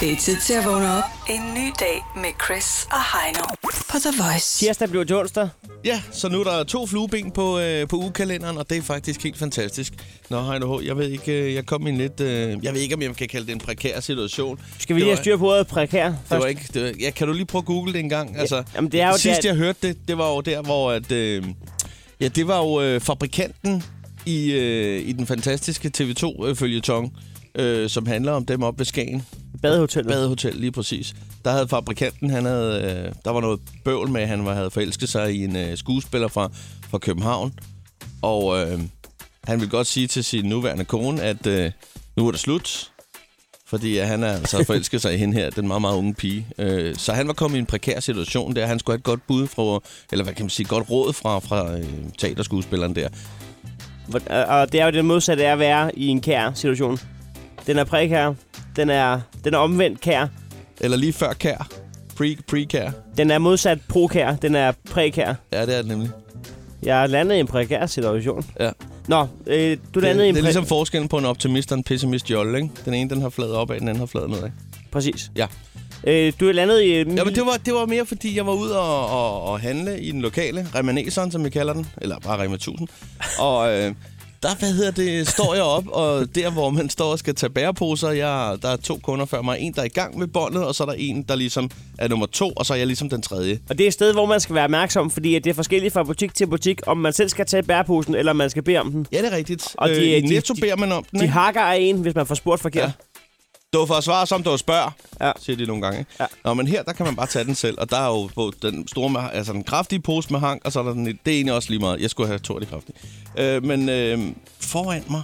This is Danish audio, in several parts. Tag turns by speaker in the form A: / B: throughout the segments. A: Det er tid til at vågne op. En ny dag med Chris og Heino på The Voice.
B: Tirsdag bliver til onsdag.
C: Ja, så nu er der to flueben på, øh, på ugekalenderen, og det er faktisk helt fantastisk. Nå, Heino H., jeg ved ikke, øh, jeg kom i en lidt... Øh, jeg ved ikke, om jeg kan kalde det en prekær situation.
B: Skal vi lige
C: det
B: have styr på ordet prekær først?
C: Det var ikke... Det var, ja, kan du lige prøve at google det en gang? Altså,
B: jamen, det er jo
C: sidst
B: der-
C: jeg hørte det, det var jo der, hvor at... Øh, ja, det var jo øh, fabrikanten i, øh, i den fantastiske TV2-følgetong, øh, som handler om dem oppe ved Skagen.
B: Badehotellet.
C: Badehotel, lige præcis. Der havde fabrikanten, han havde, øh, der var noget bøvl med, at han var, havde forelsket sig i en øh, skuespiller fra, fra København. Og øh, han ville godt sige til sin nuværende kone, at øh, nu er det slut. Fordi at han er altså forelsket sig i hende her, den meget, meget unge pige. Øh, så han var kommet i en prekær situation der. Han skulle have et godt bud fra, eller hvad kan man sige, godt råd fra, fra øh, teaterskuespilleren der.
B: Hvor- og- øh, Og det er jo det modsatte af at være i en kær situation. Den er prekær. Den er, den er omvendt kær.
C: Eller lige før kær. Pre, pre-kær.
B: Den er modsat prokær. Den er prekær.
C: Ja, det er det nemlig.
B: Jeg er landet i en prekær situation.
C: Ja.
B: Nå, øh, du
C: Det,
B: landede i en
C: det er
B: præ-
C: ligesom forskellen på en optimist og en pessimist jolle, ikke? Den ene, den har flad opad, den anden har flad nedad.
B: Præcis.
C: Ja.
B: Øh, du er landet i... en-
C: Ja, men det var, det var mere, fordi jeg var ude og, og, og handle i den lokale, Remaneseren, som vi kalder den, eller bare Rema 1000. Og øh, der, hvad hedder det, står jeg op, og der, hvor man står og skal tage bæreposer, jeg, der er to kunder før mig. En, der er i gang med båndet, og så er der en, der ligesom er nummer to, og så er jeg ligesom den tredje.
B: Og det er et sted, hvor man skal være opmærksom, fordi at det er forskelligt fra butik til butik, om man selv skal tage bæreposen, eller om man skal bede om den.
C: Ja, det er rigtigt.
B: Og
C: Og
B: de-
C: de, øh, i
B: de-
C: netto
B: de-
C: beder man om den,
B: De
C: ikke?
B: hakker af en, hvis man får spurgt forkert.
C: Ja. Du får svar, som du spørger,
B: Ja.
C: ja. siger de nogle gange. Ikke?
B: Ja.
C: Ja. Nå, men her, der kan man bare tage den selv, og der er jo på den store, med, altså den kraftige pose med hank, og så er der den, det er egentlig også lige meget. Jeg skulle have to af de kraftige. Øh, men øh, foran mig,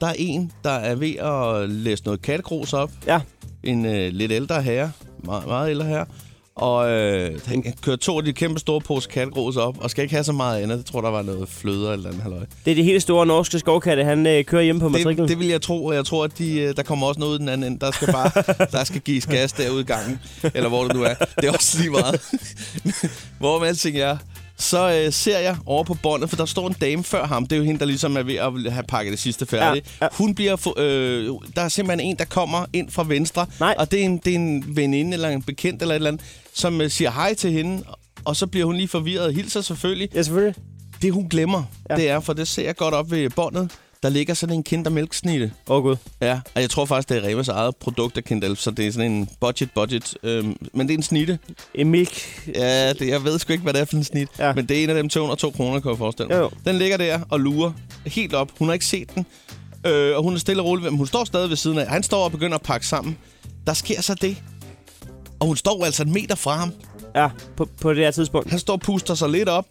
C: der er en, der er ved at læse noget kattegros op.
B: Ja.
C: En øh, lidt ældre herre, meget, meget ældre herre. Og øh, han kører to af de kæmpe store pose kattegros op, og skal ikke have så meget andet. Jeg tror, der var noget fløder eller andet halløj.
B: Det er det helt store norske skovkatte, han øh, kører hjemme på matriklen.
C: Det, det vil jeg tro, og jeg tror, at de, øh, der kommer også noget ud den anden ende. Der skal bare der skal gives gas derude i gangen, eller hvor det nu er. Det er også lige meget. hvor med alting er, så øh, ser jeg over på båndet, for der står en dame før ham. Det er jo hende, der ligesom er ved at have pakket det sidste færdigt.
B: Ja, ja.
C: Ja, ja. Hun bliver... Få, øh, der er simpelthen en, der kommer ind fra venstre,
B: Nej.
C: og det er, en, det er en veninde eller en bekendt eller et eller andet, som øh, siger hej til hende, og så bliver hun lige forvirret og hilser selvfølgelig.
B: Ja, selvfølgelig.
C: Det, hun glemmer,
B: Ja.
C: ja. det er, for det ser jeg godt op ved båndet, der ligger sådan en kindermælksnitte.
B: Åh, oh, Gud.
C: Ja, og jeg tror faktisk, det er Remas eget produkt af Kindle, så det er sådan en budget-budget. Øhm, men det er en snitte.
B: En milk.
C: Ja, det, jeg ved sgu ikke, hvad det er for en snit.
B: Ja.
C: Ja. Men det er en af dem 202 kroner, kan jeg forestille mig.
B: Jo, jo.
C: Den ligger der og lurer helt op. Hun har ikke set den. Øh, og hun er stille og rolig. ved- Men hun står stadig ved siden af. Han står og begynder at pakke sammen. Der sker så det. Og hun står altså en meter fra ham.
B: Ja, på, på det her tidspunkt.
C: Han står og puster sig lidt op,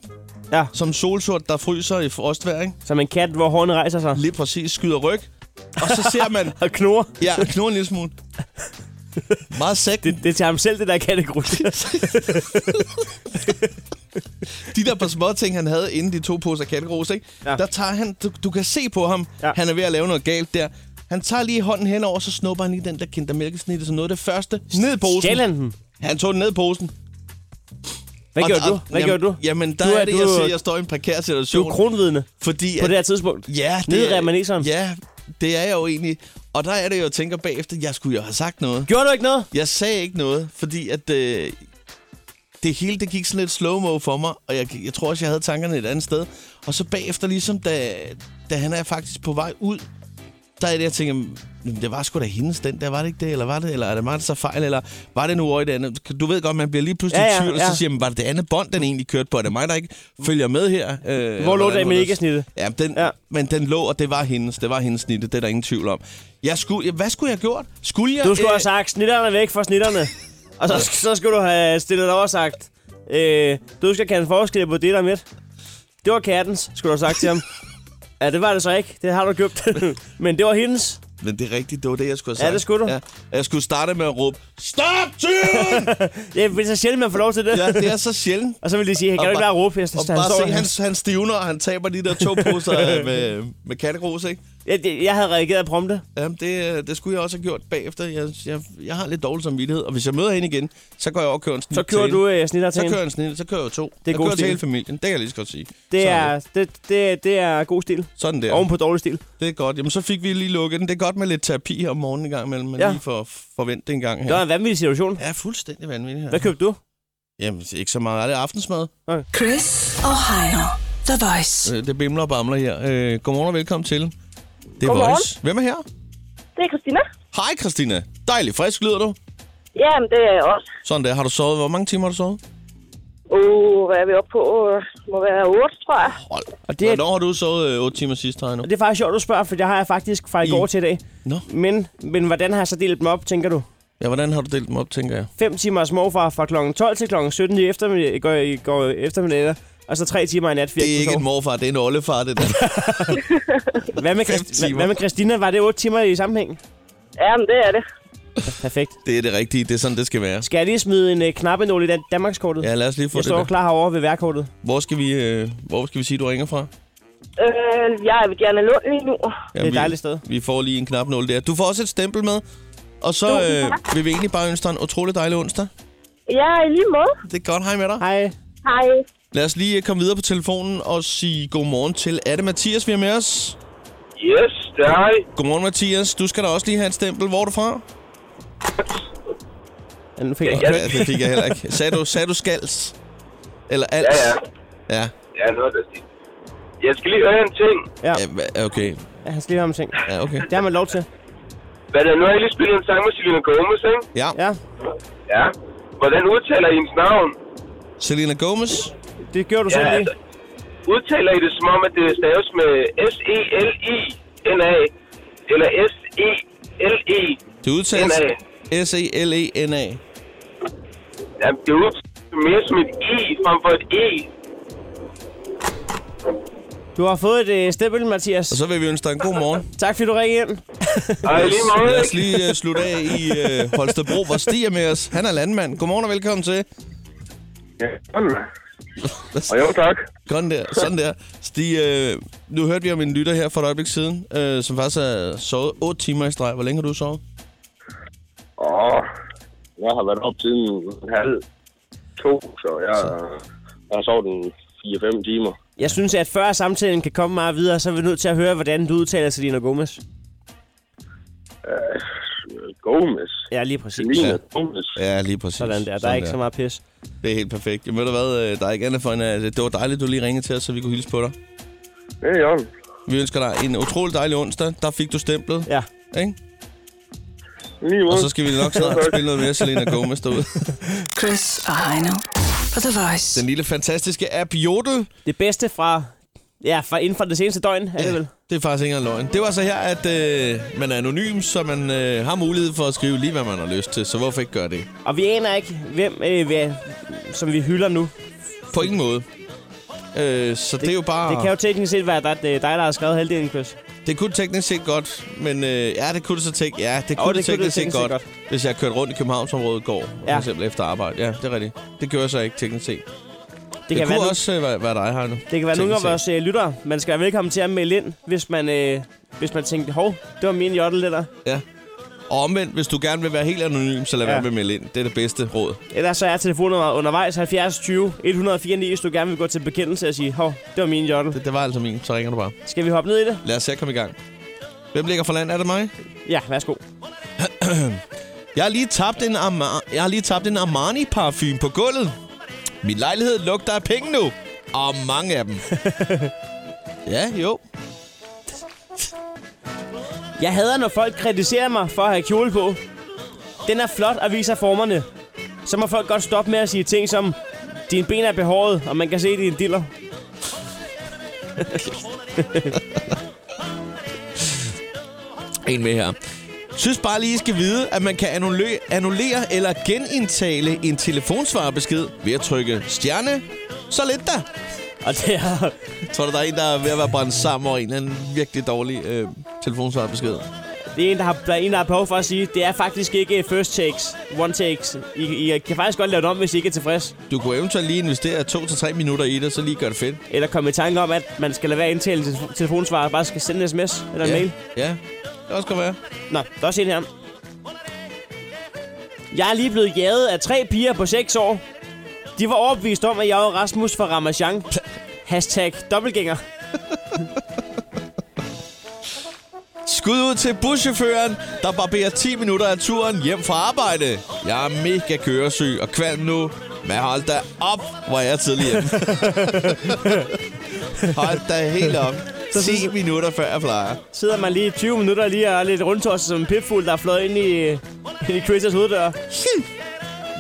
B: Ja,
C: som solsort, der fryser i frostvejr. Ikke?
B: som en kat, hvor hårene rejser sig.
C: Lige præcis skyder ryg. Og så ser man...
B: Og knurrer.
C: Ja, knurrer en lille smule. Meget sæk.
B: Det, det er til ham selv, det der kattegrus.
C: de der par små ting, han havde inden de to poser kattegros, ikke?
B: Ja.
C: Ja. Der tager han, du, du kan se på ham,
B: Ja.
C: ja. han er ved at lave noget galt der. Han tager lige hånden henover, så snupper han lige den der kinder mælkesnitte, som noget af det første. Ned i posen.
B: Stjæl han den?
C: Han tog den ned i posen.
B: Hvad
C: Og-
B: gjorde du?
C: og-
B: Hvad
C: jamen,
B: gjorde du?
C: Jamen, der
B: Du
C: du
B: er-
C: er, er det,
B: du-
C: jeg siger, jeg står i en prekær
B: Du
C: situation.
B: er kronvidne
C: fordi,
B: på
C: at-
B: det her tidspunkt.
C: Ja,
B: Nede i
C: det
B: remaneseren.
C: Ja, det er jeg jo egentlig. Og der er det, jeg tænker bagefter, jeg skulle jo have sagt noget.
B: Gjorde du ikke noget?
C: Jeg sagde ikke noget, fordi at øh, det hele det gik sådan lidt slow-mo for mig, og jeg, jeg tror også, jeg havde tankerne et andet sted. Og så bagefter, ligesom da, da han er faktisk på vej ud, der er det, jeg tænker, jamen, det var sgu da hendes den der, var det ikke det, eller var det, eller er det mig, der så fejl, eller var det nu over i det andet? Du ved godt, man bliver lige pludselig
B: Ja,
C: ja,
B: ja,
C: ja, i tvivl, og
B: ja.
C: så siger man, var det det andet bånd, den egentlig kørte på? Er det mig, der ikke følger med her? Øh, eller
B: Hvor lå
C: hvordan
B: der
C: var
B: med
C: det?
B: ikke snitte?
C: Ja, den,
B: Ja.
C: ja. men den lå, og det var hendes. Det var hendes snitte, det er der ingen tvivl om. Jeg skulle, ja, hvad skulle jeg have gjort? Skulle jeg...
B: Du skulle
C: øh,
B: have sagt, snitterne væk fra snitterne. Og så, så skulle du have stillet dig over og sagt, øh, du skal kende forskel på det der midt. Det var kattens, skulle du have sagt til ham. Ja, det var det så ikke. Det har du købt. Men det var hendes.
C: Men det er rigtigt, det var det, jeg skulle have
B: Ja,
C: sagt.
B: det skulle du.
C: Ja. Og Jeg skulle starte med at råbe, Stop tyven!
B: Ja, det er så sjældent, man får lov til det.
C: ja, det er så sjældent.
B: Og så vil de sige, hey, kan
C: Og
B: du ikke
C: bare-
B: lade råbe, jeg
C: Og
B: synes, han
C: bare
B: står
C: se, han, han stivner, og han taber de der to poser øh, med, med kattegrus, ikke?
B: Jeg, jeg, jeg havde reageret prompte.
C: Jamen, det, øh, det skulle jeg også have gjort bagefter. Jeg, jeg, jeg har lidt dårlig samvittighed, og hvis jeg møder hende igen, så går jeg over og kører en snit
B: Så
C: til
B: kører
C: hende.
B: du øh, snitter til
C: Så
B: hende.
C: kører jeg en snit, så kører jeg to.
B: Det er
C: jeg
B: god
C: kører til
B: stil.
C: hele familien, det kan jeg lige så godt sige.
B: Det
C: Så,
B: er, det, det, det er god stil.
C: Sådan
B: Ja.
C: der.
B: Oven på dårlig stil.
C: Det er godt. Jamen, så fik vi lige lukket den. Det er godt med lidt terapi her om morgenen en gang imellem, men
B: Ja.
C: ja. lige for forvente en gang
B: Det var
C: her.
B: en vanvittig situation.
C: Ja, fuldstændig vanvittigt her.
B: Hvad købte du?
C: Jamen, ikke så meget. Er det aftensmad?
A: Chris og Heino. The Voice.
C: Øh, Det bimler og bamler her. Øh, godmorgen og velkommen til. Det er
D: Godmorgen.
C: Voice. Hvem er her?
D: Det er Christina.
C: Hej, Christina. Dejlig frisk lyder du.
D: Jamen, det er jeg også.
C: Sådan der. Har du sovet? Hvor mange timer har du sovet?
D: Uh, hvad er vi oppe på? Øh, Må være 8, tror jeg.
C: Hold.
B: Og det, er,
C: Hvornår har du sovet øh, 8 timer sidst, Heino?
B: og det er faktisk sjovt, du spørger, for jeg har jeg faktisk fra i
C: I-
B: går til i dag.
C: Nå.
B: Men, men hvordan har jeg så delt dem op, tænker du?
C: Ja, hvordan har du delt dem op, tænker jeg?
B: 5 timer morfar fra kl. 12 til kl. 17 i eftermiddag, i går, i går eftermiddag, og så 3 timer i nat.
C: Det er ikke en
B: en
C: morfar, det er en oldefar, det der.
B: hvad, med
C: fem
B: Christ- hvad,
C: timer.
B: hvad med Christina? Var det 8 timer i sammenhæng?
D: Jamen, det er det.
B: Perfekt.
C: det er det rigtige. Det er sådan, det skal være.
B: Skal jeg lige smide en uh, knappenål i Dan- Danmarkskortet?
C: Ja, lad os lige få
B: jeg
C: det
B: står
C: der.
B: klar herovre ved værkortet.
C: Hvor skal, vi, øh, hvor skal vi sige, du ringer fra?
D: Øh, jeg er ved Diana Lund lige nu.
B: Det er et
C: vi-
B: dejligt sted.
C: Vi får lige en knap 0 der. Du får også et stempel med. Og så
D: Tusind
C: øh, vil vi egentlig bare ønske dig en utrolig dejlig onsdag.
D: Ja, i lige måde.
C: Det er godt. Hej med dig.
B: Hej.
D: Hej.
C: Lad os lige øh, komme videre på telefonen og sige godmorgen til. Er det Mathias, vi er med os?
E: Yes, det er jeg.
C: Godmorgen, Mathias. Du skal da også lige have et stempel. Hvor er du fra?
B: Ja, nu fik jeg.
C: Ja, det fik jeg heller ikke. Sagde du, sagde du skals? Eller alt?
E: Ja, ja.
C: ja.
E: Ja, noget der stil. Jeg skal lige høre en ting.
C: ja hva- okay.
B: Ja, han skal lige have om ting.
C: Ja, okay.
B: Det har man lov til.
E: Hvad der, nu har jeg lige spillet en sang med Selena Gomez, ikke?
C: Ja.
B: Ja,
E: Ja. Hvordan udtaler I hendes navn?
C: Selena Gomez.
B: det gjorde du
E: Ja,
B: selv lige.
E: altså, udtaler I det som om, at det staves med S-E-L-I-N-A? Eller S-E-L-E?
C: Det udtales E
E: N.A..
C: S-E-L-E-N-A.
E: Jamen, det udtales mere som et I frem for et E.
B: Du har fået et øh, stempel, Mathias.
C: Og så vil vi ønske dig en god morgen.
B: Tak fordi du ringede ind.
E: Og i lige meget,
C: Lad os
E: ikke?
C: lige uh, slutte af i uh, Holstebro, hvor Stig er med os. Han er landmand. Godmorgen og velkommen til.
E: Ja, sådan. Og jo, tak.
C: Sådan der, sådan der. Stig, uh, nu hørte vi om en lytter her for et øjeblik siden, uh, som faktisk har sovet 8 timer i streg. Hvor længe har du sovet?
E: Åh, jeg har været op siden halv to, så jeg, jeg har sovet en 4-5 timer.
B: Jeg synes, at før samtalen kan komme meget videre, så er vi nødt til at høre, hvordan du udtaler Selena Gomez.
E: Gomes.
B: Ja, lige præcis.
E: Selina
C: Ja.
E: Gomes.
C: Ja, lige præcis.
B: Sådan der. Der er ikke så meget pis.
C: Det er helt perfekt. Jamen ved du hvad, øh, der er ikke andet for end, at det var dejligt, du lige ringede til os, så vi kunne hilse på dig.
E: Det er Jørgen.
C: Vi ønsker dig en utrolig dejlig onsdag. Der fik du stemplet,
B: Ja.
C: ikke?
E: Lige
C: Og
E: måde.
C: så skal vi nok snart spille noget mere Selena Gomez derude.
A: Chris og Heino på The Voice.
C: Den lille fantastiske app Jodel.
B: Det bedste fra... Ja, fra inden for det seneste døgn, er det vel?
C: Det er faktisk ikke engang løgn. Det var så her, at øh, man er anonym, så man øh, har mulighed for at skrive lige, hvad man har lyst til. Så hvorfor ikke gøre det?
B: Og vi aner ikke, hvem øh, vi er, som vi hylder nu.
C: På ingen måde. Øh, så det, det er jo bare...
B: Det kan jo teknisk set være dig, det er dig der har skrevet halvdelen, Chris.
C: det kunne teknisk set godt, men øh, ja, det kunne det så tænke. Ja, det kunne
B: det
C: det,
B: kunne
C: teknisk set godt, godt, hvis jeg kørte rundt i Københavnsområdet i går,
B: Ja.
C: ja. for eksempel efter arbejde. Ja, det er rigtigt. Det gør jeg så ikke teknisk set. Det,
B: Det, kan
C: det kunne
B: være, nu-
C: også øh, være, være dig her nu.
B: det kan være nogle af
C: teknisk
B: vores øh, lyttere. Man skal være velkommen til at melde ind, hvis man, øh, hvis man tænkte, hov, det var min jottel, det der.
C: Og omvendt, hvis du gerne vil være helt anonym, så lad
B: Ja.
C: ja. være med at melde ind. Det er det bedste råd.
B: Ellers så er telefonnummeret undervejs 70 20 104 9, hvis du gerne vil gå til bekendelse og sige, hov, det var min jottel.
C: Det, det var altså min. Så ringer du bare.
B: Skal vi hoppe ned i det?
C: Lad os se at komme i gang. Hvem ligger for land? Er det mig?
B: Ja, værsgo.
C: Jeg har lige tabt en, Arma- jeg har lige tabt en armani parfume på gulvet. Min lejlighed lugter af penge nu. Og mange af dem. ja, jo.
B: Jeg hader, når folk kritiserer mig for at have kjole på. Den er flot og viser formerne. Så må folk godt stoppe med at sige ting som, dine ben er behåret, og man kan se dine diller.
C: En med her. Synes bare lige, I skal vide, at man kan annullere, annullere eller genindtale en telefonsvarebesked ved at trykke stjerne. Så lidt da.
B: Og det er,
C: Tror du, der er en, der er ved at være brændt sammen over en eller anden virkelig dårlig øh, telefonsvarebesked?
B: Det er en, der, har, der er en, der har behov for at sige, det er faktisk ikke first takes, one takes. I, I kan faktisk godt lave det om, hvis I ikke er tilfreds.
C: Du kunne eventuelt lige investere 2-3 minutter i det, så lige gør det fedt.
B: Eller komme i tanke om, at man skal lade være at indtale sin telefo- telefonsvar, og bare skal sende en sms eller en
C: ja.
B: mail.
C: Ja, det kan også godt være.
B: Nå, der er også en her. Jeg er lige blevet jaget af tre piger på 6 år. De var overbevist om, at jeg var Rasmus fra Ramachan. Hashtag dobbeltgænger.
C: Skud ud til buschaufføren, der barberer 10 minutter af turen hjem fra arbejde. Jeg er mega køresyg og kvalm nu, men hold da op, hvor er jeg tidlig hjemme. hold da helt op. 10 minutter før jeg plejer.
B: Sidder man lige i 20 minutter lige og er lidt rundtosset som en pipfugl, der er fløjet ind i, ind i Chris' hoveddør.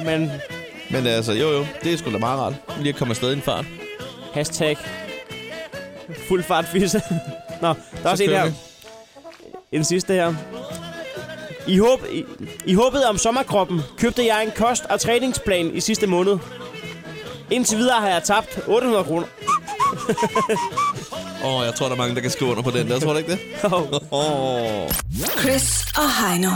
B: Men
C: Men altså, jo jo, det er sgu da meget rart. Lige at komme afsted i en fart.
B: Hashtag fuld fart fisse. Nå, der er også en
C: kører
B: her. En sidste her. I, håb, i, I håbet om sommerkroppen købte jeg en kost- og træningsplan i sidste måned. Indtil videre har jeg tabt 800 kroner.
C: Åh, oh, jeg tror, der er mange, der kan skrive under på den der. Tror du ikke det? Åh. Oh.
A: Chris og Heino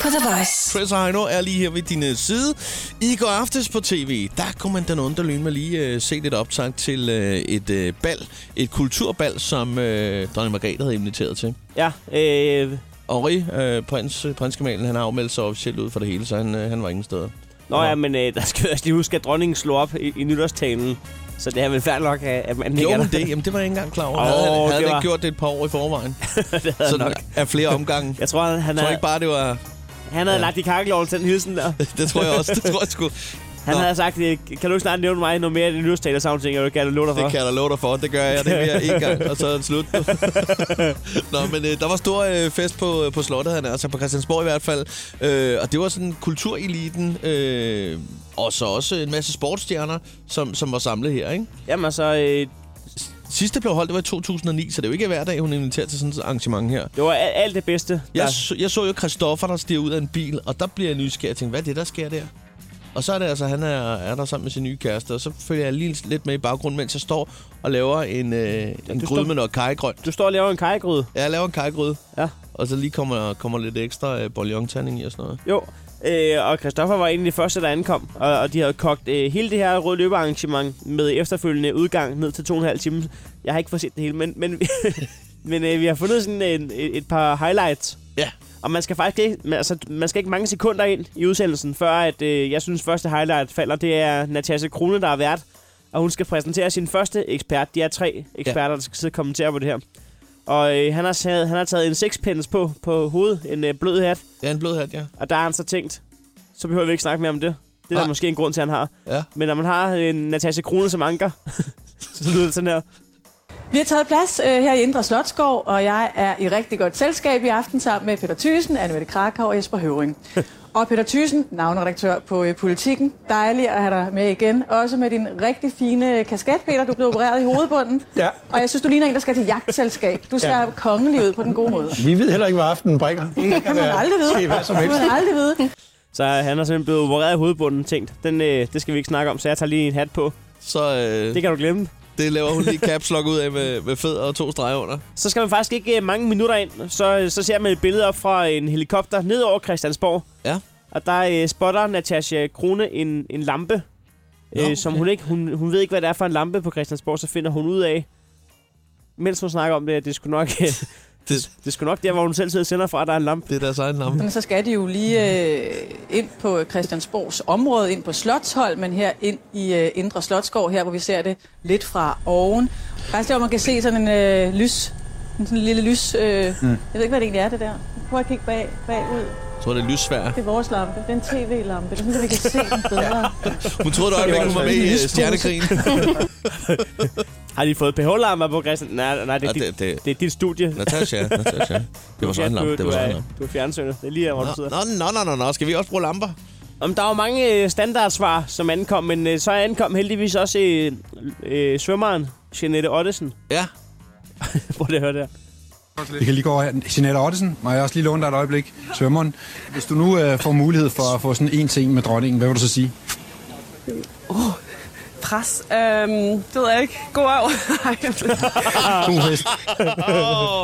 A: på The Voice.
C: Chris og Heino er lige her ved din øh, side. I går aftes på tv, der kunne man den under lyn med lige øh, se lidt optag til øh, et øh, bal. Et kulturbal, som øh, dronning Margrethe havde inviteret til.
B: Ja, øh,
C: Henri, øh, prins, øh, prinskemalen, han har afmeldt sig officielt ud for det hele, så han, øh, han var ingen steder.
B: nå ja, men øh, der skal vi også lige huske, at dronningen slog op i, i nytårstalen. Så det er vel fair nok, at at man ikke
C: Jo,
B: er
C: men
B: der.
C: det, jamen, det var jeg ikke engang klar over.
B: Åh,
C: havde han,
B: det
C: havde det
B: var-
C: ikke gjort det et par år i forvejen? Sådan af flere omgange.
B: Jeg tror, han, han,
C: Jeg tror
B: havde,
C: ikke bare, det var...
B: han havde lagt i kakkeloven til den hilsen der.
C: Det tror jeg også. Det tror jeg sgu.
B: Han
C: Nå.
B: havde sagt, øh, kan du ikke snart nævne mig noget mere i den nyhedstale og sådan ting, jeg vil gerne love dig for.
C: Det kan jeg da love dig for. Det gør jeg. Det bliver jeg en gang, og så er det slut. Nå, men øh, der var stor øh, fest på, øh, på slottet, han er, altså på Christiansborg i hvert fald. Øh, og det var sådan kultureliten, øh, og så også en masse sportsstjerner, som, som var samlet her, ikke?
B: Jamen så, øh,
C: Sidste blev holdt, det var i 2009, så det er jo ikke hver dag, hun inviterer til sådan et arrangement her.
B: det var al- alt det bedste.
C: Jeg, så, jeg så jo Christoffer, der stiger ud af en bil, og der bliver jeg nysgerrig og tænker, hvad er det, der sker der? Og så er det altså, han er, er der sammen med sin nye kæreste, og så følger jeg lige lidt med i baggrunden, mens jeg står og laver en, øh, en
B: du
C: gryde
B: står-
C: med noget karrygrønt.
B: Du står og laver en kajegryde.
C: Ja, jeg laver en karrygryde,
B: Ja.
C: og så lige kommer, kommer lidt ekstra øh, bouillon-terning i og sådan noget.
B: Jo. Øh, og Christoffer var en af de første, der ankom, og, og de havde kogt øh, hele det her røde løbearrangement med efterfølgende udgang ned til to og en halv time. Jeg har ikke fået set det hele, men, men, men øh, vi har fundet sådan en, et, et par highlights.
C: Ja.
B: Og man skal faktisk ikke, man, altså, man skal ikke mange sekunder ind i udsendelsen, før at, øh, jeg synes, første highlight falder. Det er Natasha Krone, der er vært, og hun skal præsentere sin første ekspert. De er tre eksperter, ja. der skal sidde og kommentere på det her. Og øh, han, har, taget- han har taget en sixpence på, på hovedet, en øh, blød hat.
C: Ja, en blød hat, ja.
B: Og der har han så tænkt, så behøver vi ikke snakke mere om det. Det er
C: Nej.
B: der måske en grund til, at han har.
C: Ja.
B: Men når man har en Natasha Krone som anker, så lyder det sådan her.
F: Vi har taget plads øh, her i Indre Slotskov, og jeg er i rigtig godt selskab i aften sammen med Peter Thysen, Annemette Krakow og Jesper Høvring. og Peter Thysen, navneredaktør på øh, Politikken. Dejligt at have dig med igen. Også med din rigtig fine øh, kasket, Peter. Du blev opereret i hovedbunden.
G: Ja.
F: Og jeg synes, du ligner en, der skal til jagtselskab. Du ser ja. kongelig ud på den gode måde.
G: Vi ved heller ikke, hvad aftenen bringer.
F: Det kan man aldrig vide.
G: Ske hvad som helst.
F: Det kan man aldrig vide.
B: Så han har simpelthen blevet opereret i hovedbunden tænkt. Den, øh, det skal vi ikke snakke om, så jeg tager lige en hat på.
C: Så øh,
B: Det
C: det,
B: kan du glemme.
C: det laver hun lige caps lock ud af med, med fed og to streger under.
B: Så skal man faktisk ikke øh, mange minutter ind, så, så ser man et billede op fra en helikopter ned over Christiansborg.
C: Ja.
B: Og der øh, spotter Natasha Krone en, en lampe,
C: Nå,
B: øh, som
C: okay.
B: hun ikke... Hun, hun ved ikke, hvad det er for en lampe på Christiansborg, så finder hun ud af, mens hun snakker om det, at det skulle nok... øh,
C: Det,
B: Det er sgu nok der, hvor hun selv sidder og sender fra, der er en lampe.
C: det er deres egen lampe.
F: Men så skal de jo lige øh, ind på Christiansborgs område, ind på Slotsholm, men her ind i øh, Indre Slotskov, her hvor vi ser det lidt fra oven. Faktisk der, hvor man kan se sådan en øh, lys, en sådan lille lys, øh, mm. jeg ved ikke, hvad det egentlig er, det der. Prøv at kigge bag, bagud.
C: Jeg tror, det er lyssvær.
F: Det er vores lampe, det er en tv-lampe. Det er sådan, at vi kan se den bedre.
C: Hun troede et øjeblik, hun var med i øh,
G: Lyspose.
C: Stjernekrigen.
B: Har de fået pH-lamper på Christian? Nej, nej det, er
C: Og
B: dit,
C: det-
B: det,
C: det-
B: det, er dit studie.
C: Natasha, Natasha. Det var sådan en lampe.
B: du,
C: Det
B: du,
C: var sådan en
B: er,
C: lampe.
B: du er fjernsynet. Det er lige her, hvor du sidder.
C: Nå, nå, nå, nå, nå, skal vi også bruge lamper?
B: Om der var mange øh, standardsvar, som ankom, men øh, så ankom heldigvis også øh, øh, svømmeren Jeanette Ottesen.
C: Ja.
B: Prøv lige at høre det her.
H: Vi kan lige gå over her. Jeanette Ottesen, må jeg også lige låne dig et øjeblik, svømmeren. Hvis du nu øh, får mulighed for at få sådan en ting med dronningen, hvad vil du så sige?
I: Pres. Øhm, det ved jeg ikke. God af.
H: God fest.
C: Åh,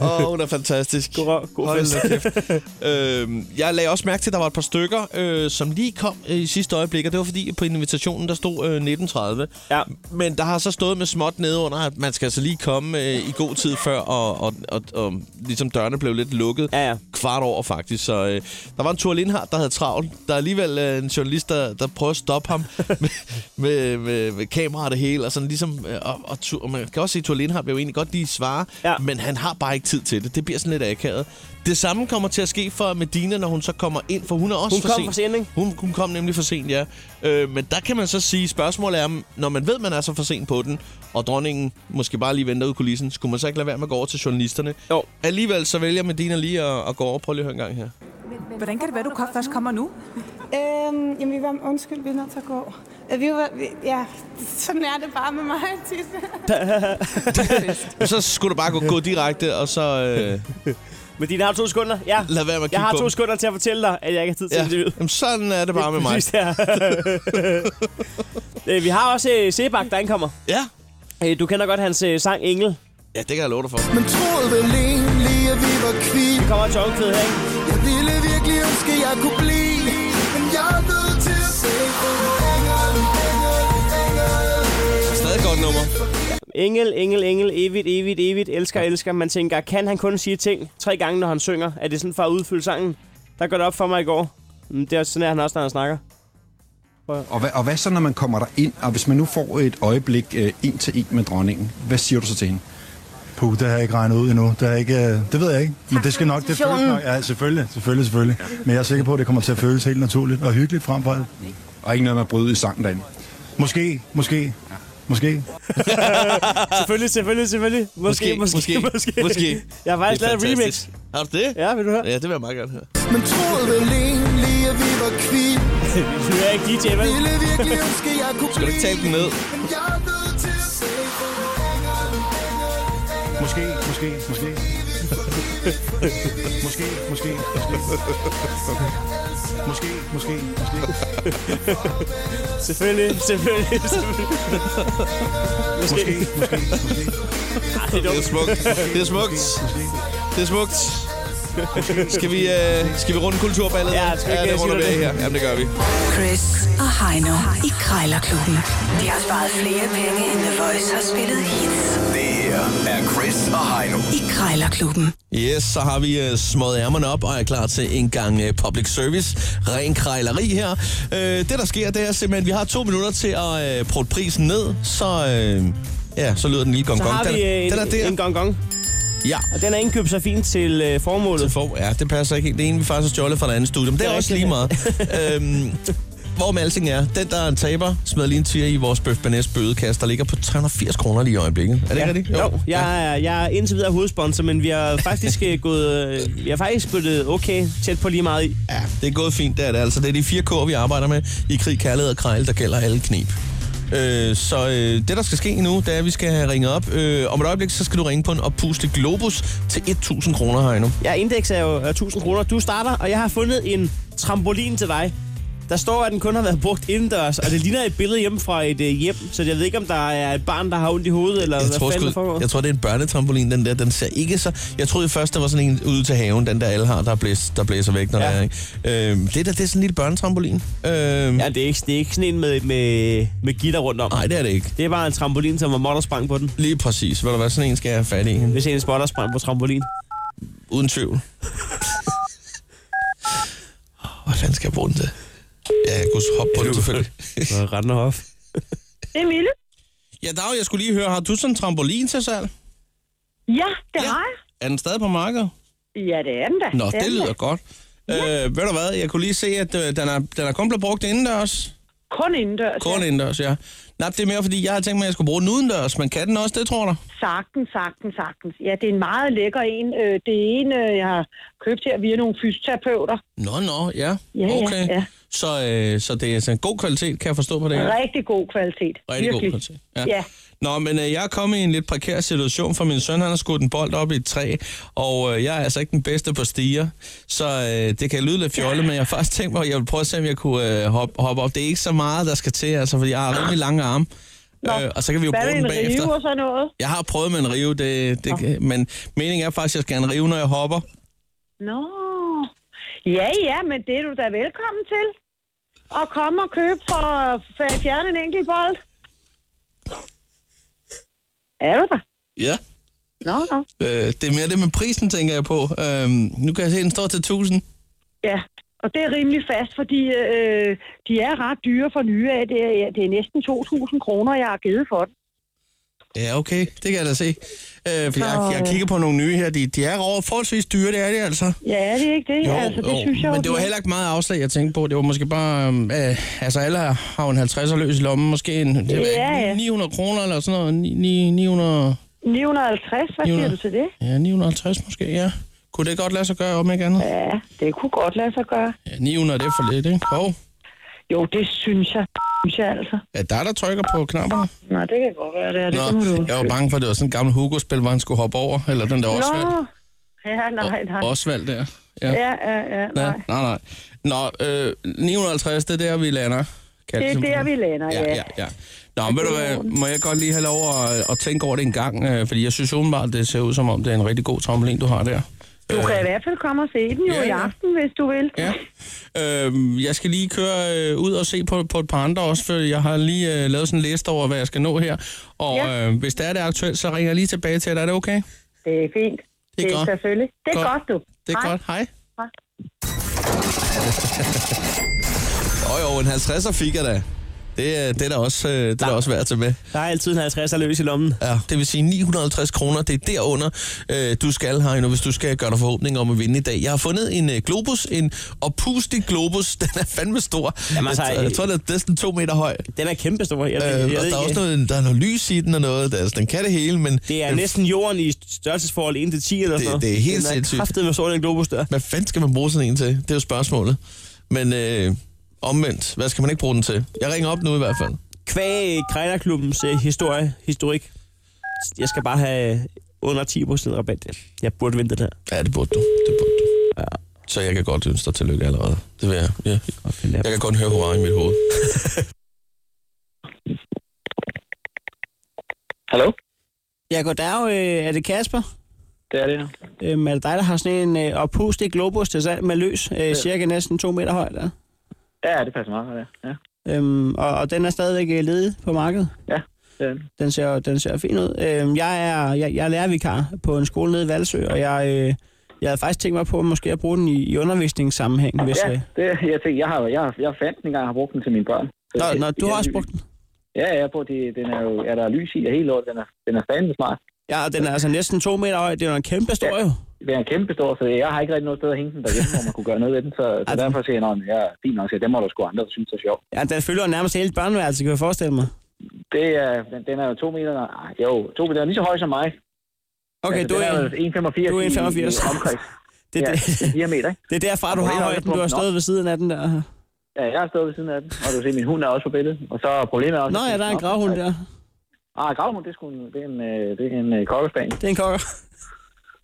C: Åh, oh, hun er fantastisk.
B: God røv, god
C: Hold
B: fest.
C: da kæft. øhm, jeg lagde også mærke til, at der var et par stykker, øh, som lige kom øh, i sidste øjeblik, og det var fordi, på invitationen, der stod øh, 1930.
B: Ja.
C: Men der har så stået med småt nedenunder, at man skal altså lige komme øh, i god tid før, og, og, og, og ligesom dørene blev lidt lukket.
B: Ja, ja.
C: Kvart over faktisk. Så øh, der var en Thor Lindhardt, der havde travlt. Der er alligevel øh, en journalist, der, der prøver at stoppe ham med, med, med, med kamera og det hele. Og, sådan, ligesom, øh, og, og, Thor- og man kan også se, at Thor Lindhardt vil jo egentlig godt lige svare,
B: Ja.
C: ja. men han har bare ikke tid til det. Det bliver sådan lidt akavet. Det samme kommer til at ske for Medina, når hun så kommer ind, for hun er også
B: Hun
C: for
B: kom
C: sent.
B: for sent, ikke?
C: Hun, hun kom nemlig for sent, ja. Øh, men der kan man så sige, spørgsmålet er, om- når man ved, man er så for sent på den, og dronningen måske bare lige venter ud i kulissen, skulle man så ikke lade være med at gå over til journalisterne?
B: Jo.
C: Alligevel så vælger Medina lige at, at gå over. Prøv lige at høre en gang her.
G: Hvordan kan det være, du kom- først kommer nu?
I: Øhm, jamen, vi var, undskyld, vi er nødt til at gå. Øh, Vi var, vi, ja, sådan er det bare med mig tit.
C: Så skulle du bare gå, gå direkte, og så øh,
B: Men dine har du to sekunder. Ja.
C: lade være med at kigge
B: Jeg har
C: på
B: to
C: dem.
B: sekunder til at fortælle dig, at jeg ikke har tid til
C: ja.
B: interviewet.
C: Jamen, sådan er det bare med mig.
B: Præcis der. Øh, Vi har også øh, Sebak, der ankommer.
C: Ja.
B: Øh, Du kender godt hans øh, sang Engel.
C: ja, det kan jeg love dig for.
J: Man troede vel egentlig, at vi var kvitt
B: Vi kommer til omkvædet her, ikke?
J: Jeg ville virkelig ønske, jeg kunne blive Men jeg er nødt til at se på engel, engel, engel
C: Stadig et godt nummer.
B: Engel, engel, engel, evigt, evigt, evigt, elsker, elsker. Man tænker, kan han kun sige ting tre gange, når han synger? Er det sådan for at udfylde sangen? Der går det op for mig i går. Mm, Det er også sådan, at han også, når han snakker.
H: Og hvad, og hvad så, når man kommer der ind og hvis man nu får et øjeblik øh, en til en med dronningen, hvad siger du så til hende?
K: Puh, det har jeg ikke regnet ud endnu. Det, er ikke, øh, det ved jeg ikke, men det skal nok, det føles nok. Ja, selvfølgelig, selvfølgelig, selvfølgelig. Men jeg er sikker på, at det kommer til at føles helt naturligt og hyggeligt frem for alt.
H: Og ikke noget med at bryde i sangen derinde.
K: Måske, måske, måske.
B: Selvfølgelig, selvfølgelig, selvfølgelig. Måske, måske, måske.
C: måske. måske.
B: Jeg har faktisk
C: Det er
B: lavet et remix.
C: fantastisk. Har du det?
B: Ja, vil du høre?
C: Ja, det vil jeg meget gerne høre.
J: Man troede vel egentlig, at vi var kvitt
B: Du er ikke DJ, vel?
J: Ville virkelig ønske, jeg kunne
C: Skal du ikke tage den ned?
J: Men jeg er nødt til at se på engel, engel, engel
K: Måske, måske, måske. Måske, måske, måske. Måske, måske, måske.
B: Selvfølgelig, selvfølgelig, selvfølgelig.
K: Måske,
B: Måske.
K: måske, måske.
C: Det er smukt. Det er smukt. Det er smukt. Skal vi, øh, skal vi runde kulturballet?
B: Ja, skal vi ikke
C: det runder vi
B: sige
C: af her.
B: noget?
C: Jamen, det gør vi.
A: Chris og Heino i Krejlerklubben. De har sparet flere penge, end The Voice har spillet hits
J: Det her er Chris og Heino
A: i Krejlerklubben.
C: Yes, så har vi uh, smået ærmerne op og er klar til en gang uh, public service. Ren krejleri her. Uh, det, der sker, det er simpelthen, at vi har to minutter til at uh, prøve prisen ned, så... Uh, ja, så lyder den lille gong
B: Så
C: gong.
B: har
C: den,
B: vi øh,
C: den er der.
B: en, en gong gong.
C: ja.
B: Og den er indkøbt så fint til øh, formålet.
C: til for. Ja, det passer ikke helt. Det ene, vi faktisk har stjålet fra et andet studie, men det er
B: Det er
C: også lige
B: rigtigt.
C: meget. øhm, hvor med alting er, den der er en taber, smider lige en tier i vores Bøf Banæs bødekasse, der ligger på 380 kroner lige i øjeblikket. Er det ikke rigtigt?
B: Jo, jeg, er, jeg er indtil videre hovedsponsor, men vi har faktisk øh, gået, øh, vi har faktisk puttet okay tæt på lige meget i.
C: Ja, det er gået fint, det er det. Altså, det er de fire K'er, vi arbejder med i krig, kærlighed og krejl, der gælder alle knep. Øh, så øh, det, der skal ske nu, det er, at vi skal have ringet op. Øh, om et øjeblik, så skal du ringe på en oppuslig globus til 1.000 kroner her endnu.
B: Ja, indeks er jo er 1000 kroner. Du starter, og jeg har fundet en trampolin til dig. Der står, at den kun har været brugt indendørs, og det ligner et billede hjemme fra et øh, hjem, så jeg ved ikke, om der er et barn, der har ondt i hovedet, eller
C: Jeg
B: hvad
C: tror,
B: fanden der
C: sgu,
B: foregår.
C: jeg tror, det er en børnetrampolin, den der. Den ser ikke så... Jeg troede først, der var sådan en ude til haven, den der alle har, der, blæs, der blæser væk, når
B: Ja.
C: ja. der er, ikke? Øhm, det der, det er sådan en lille børnetrampolin. Øhm,
B: Ja, det er, ikke, det er ikke sådan en med, med, med gitter rundt om.
C: Nej, det er det ikke.
B: Det er bare en trampolin, som var måtte sprang på den.
C: Lige præcis. Ved du hvad, sådan en skal jeg have fat i.
B: Hvis en spotter sprang på trampolin.
C: Uden tvivl. hvad fanden skal jeg bruge den til? Ja, jeg kunne hoppe på det selvfølgelig.
B: Og render op.
D: Det er Mille.
C: Ja, Dag, jeg skulle lige høre, har du sådan en trampolin til salg?
D: Ja, det
C: Ja.
D: ja. har jeg.
C: Er den stadig på markedet?
D: Ja, det er den da.
C: Nå,
D: er
C: det
D: den da.
C: lyder godt. Øh, ved du hvad, jeg kunne lige se, at øh, den, er, den er kun blevet brugt indendørs.
D: Kun indendørs.
C: Kun
D: ja.
C: indendørs, ja. Nej, det er mere, fordi jeg havde tænkt mig, at jeg skulle bruge den udendørs, men kan den også det, tror du?
D: Sagtens, sagtens, sagtens. Ja, det er en meget lækker en. Øh, Det er en, øh, jeg har købt her via nogle fysioterapeuter.
C: Nå, nå, ja.
D: Ja, ja,
C: okay.
D: ja.
C: Så, øh, så det er sådan god kvalitet, kan jeg forstå på det her.
D: Rigtig god kvalitet.
C: Rigtig god
D: Virkelig.
C: kvalitet.
D: Ja.
C: Ja. Nå, men øh, jeg er kommet i en lidt prekær situation, for min søn han har skudt en bold op i et træ, og øh, jeg er altså ikke den bedste på stiger, så øh, det kan lyde lidt fjollet, men jeg har faktisk tænkt mig, at jeg vil prøve at se, om jeg kunne øh, hoppe, hoppe op. Det er ikke så meget, der skal til, altså, fordi jeg har rimelig lange arme. Øh, og så kan vi jo
D: Hvad med
C: bruge den
D: en
C: bagefter.
D: rive og sådan noget?
C: Jeg har prøvet med en rive, det, det, kan- men meningen er faktisk, at jeg skal have en rive, når jeg hopper.
D: Nå. Ja, ja, men det er du da velkommen til. Og kom og køb for for at fjerne en enkelt bold. Er du der?
C: Ja.
D: Nå, nå.
C: Øh, det er mere det med prisen, tænker jeg på. Øh, nu kan jeg se, at den står til 1000.
D: Ja, og det er rimelig fast, fordi øh, de er ret dyre for nye af. Det er, det er næsten 2.000 kroner, jeg har givet for den.
C: Ja, okay. Det kan jeg da se. Øh, for jeg, jeg kigger på nogle nye her. De, de er over forholdsvis dyre, det er det altså.
D: Ja, er det ikke det? altså, det synes jeg
C: men
D: jo,
C: det var
D: er.
C: heller ikke meget afslag, jeg tænkte på. Det var måske bare... Øh, altså, alle har jo en 50'er løs i lommen. Måske en, jeg ved
D: Ja,
C: ikke,
D: ja.
C: 900 kroner eller sådan noget. Ni- ni- 900...
D: 950, hvad siger
C: 900.
D: du til det?
C: Ja, 950 måske, ja. Kunne det godt lade sig gøre, om ikke andet?
D: Ja, det kunne godt lade sig gøre.
C: Ja, 900, det er for lidt, ikke? Hov.
D: Jo, det synes jeg. Synes jeg altså.
C: Er det dig, der trykker på knapperne?
D: Nå, det kan godt være, det er det.
C: Nå,
D: Det må du
C: jeg var bange for, at det var sådan en gammel Hugo-spil, hvor han skulle hoppe over. Eller den der Osvald.
D: Nå, ja, nej, nej.
C: Osvald der.
D: Ja, ja, ja, ja
C: Ja,
D: nej.
C: nej, nej. Nå, øh, 950, det er der, vi lander. Kan
D: Det er
C: simpelthen.
D: der, vi lander, ja.
C: Ja, ja, ja. Nå, men ved du hvad, må jeg godt lige have lov at, at tænke over det en gang, øh, fordi jeg synes umiddelbart, det ser ud som om, det er en rigtig god tommelin, du har der.
D: Du kan i hvert fald komme og se den jo
C: ja,
D: i
C: ja.
D: aften, hvis du vil.
C: Ja. Øh, jeg skal lige køre øh, ud og se på, på et par andre også, for jeg har lige øh, lavet sådan en liste over, hvad jeg skal nå her. Og ja. øh, hvis der er det aktuelt, så ringer jeg lige tilbage til dig. Er det okay?
D: Det er fint.
C: Det er godt.
D: Selvfølgelig. Det er
C: Godt.
D: godt, du.
C: Det er
D: Hej.
C: godt. Hej.
D: Hej.
C: Jo, jo, en 50'er fik jeg da. Det, er- det er da også, øh, det er da også værd at tage med.
B: Der er altid en 50 løs i lommen.
C: Ja, det vil sige 950 kroner. Det er derunder, øh, du skal, Heino, hvis du skal gøre dig forhåbninger om at vinde i dag. Jeg har fundet en øh, globus, en oppustig globus. Den er fandme stor.
B: Jamen, altså,
C: jeg, jeg tror, den er næsten to meter høj.
B: Den er kæmpestor. Jeg, jeg,
C: Øh, og
B: jeg,
C: der
B: ved
C: er også
B: ikke.
C: noget, der er noget lys i den og noget. Der, altså, den kan det hele, men... øh,
B: Det er
C: men
B: næsten jorden i størrelsesforhold 1 til 10 eller sådan
C: det,
B: noget.
C: det er helt
B: Den
C: sindssygt.
B: kraftet med sort en globus der.
C: Hvad fanden skal man bruge sådan en til? Det er jo spørgsmålet. Men øh, omvendt, hvad skal man ikke bruge den til? Jeg ringer op nu i hvert fald.
B: Kvæg Krejlerklubbens øh, historie, historik. Jeg skal bare have under 10 rabat. Jeg burde vente der.
C: Ja, det burde du. Det burde du. Ja. Så jeg kan godt ønske dig tillykke allerede. Det vil jeg. Ja. Jeg kan kun høre hurra i mit hoved.
L: Hallo?
B: Ja, goddag. Øh, er det Kasper?
L: Det er det her.
B: Øhm, er det dig, der har sådan en øh, oppustig globus til salg med løs, øh, cirka næsten 2 meter høj der?
L: Ja, det passer meget godt, ja. ja.
B: Øhm, og, og den er stadigvæk øh, ledig på markedet?
L: Ja, det er den.
B: Den ser, den ser fin ud. Øhm, jeg, er, jeg, jeg er lærervikar på en skole nede i Valsø, og jeg, øh, jeg havde faktisk tænkt mig på måske at bruge den i, i undervisningssammenhæng. Hvis, øh,
L: ja, det, jeg tænkte, jeg har, jeg, har, jeg fandt den engang, jeg har brugt den til mine børn.
B: Nå,
L: det-
B: nå, du
L: det
B: har
L: er
B: også
L: ly-
B: brugt den?
L: Ja, ja, på det, den er jo, er der lys i, og hele året, den er, den er fandme smart.
B: Ja, og den er altså næsten to meter høj. Det er jo en kæmpe stor, jo.
L: Den er kæmpestor, så jeg har ikke rigtig noget sted at hænge den derhjemme, hvor man kunne gøre noget ved den, så,
B: Altså-
L: så derfor siger jeg, at jeg er fint nok, så den må der sgu andre, der synes er sjov.
B: Ja, den fylder jo nærmest hele børneværelset, kan jeg forestille mig.
L: Det er, den, den er jo to meter, ah, jo, to meter, den er lige så høj som mig.
B: Okay,
L: altså,
B: du
L: den
B: er
L: er,
B: en-
L: jo 1,85
B: du er
L: i-
B: 1,85.
L: i omkreds.
B: Det er
L: ja,
B: det.
L: det er fire meter, ikke?
B: Det er derfor,
L: Og
B: du
L: på
B: har
L: en eller anden
B: højden. Du
L: punkt-
B: har stået ved siden af den der.
L: Ja, jeg har stået ved siden af den, og du kan se, min hund er også på billedet. Og så er problemet også...
B: Nå ja, der er en gravhund der.
L: Ah, gravhund, det er, sgu en, det er en, øh, det er en øh, kokkespaniel.
B: Det er en kokker.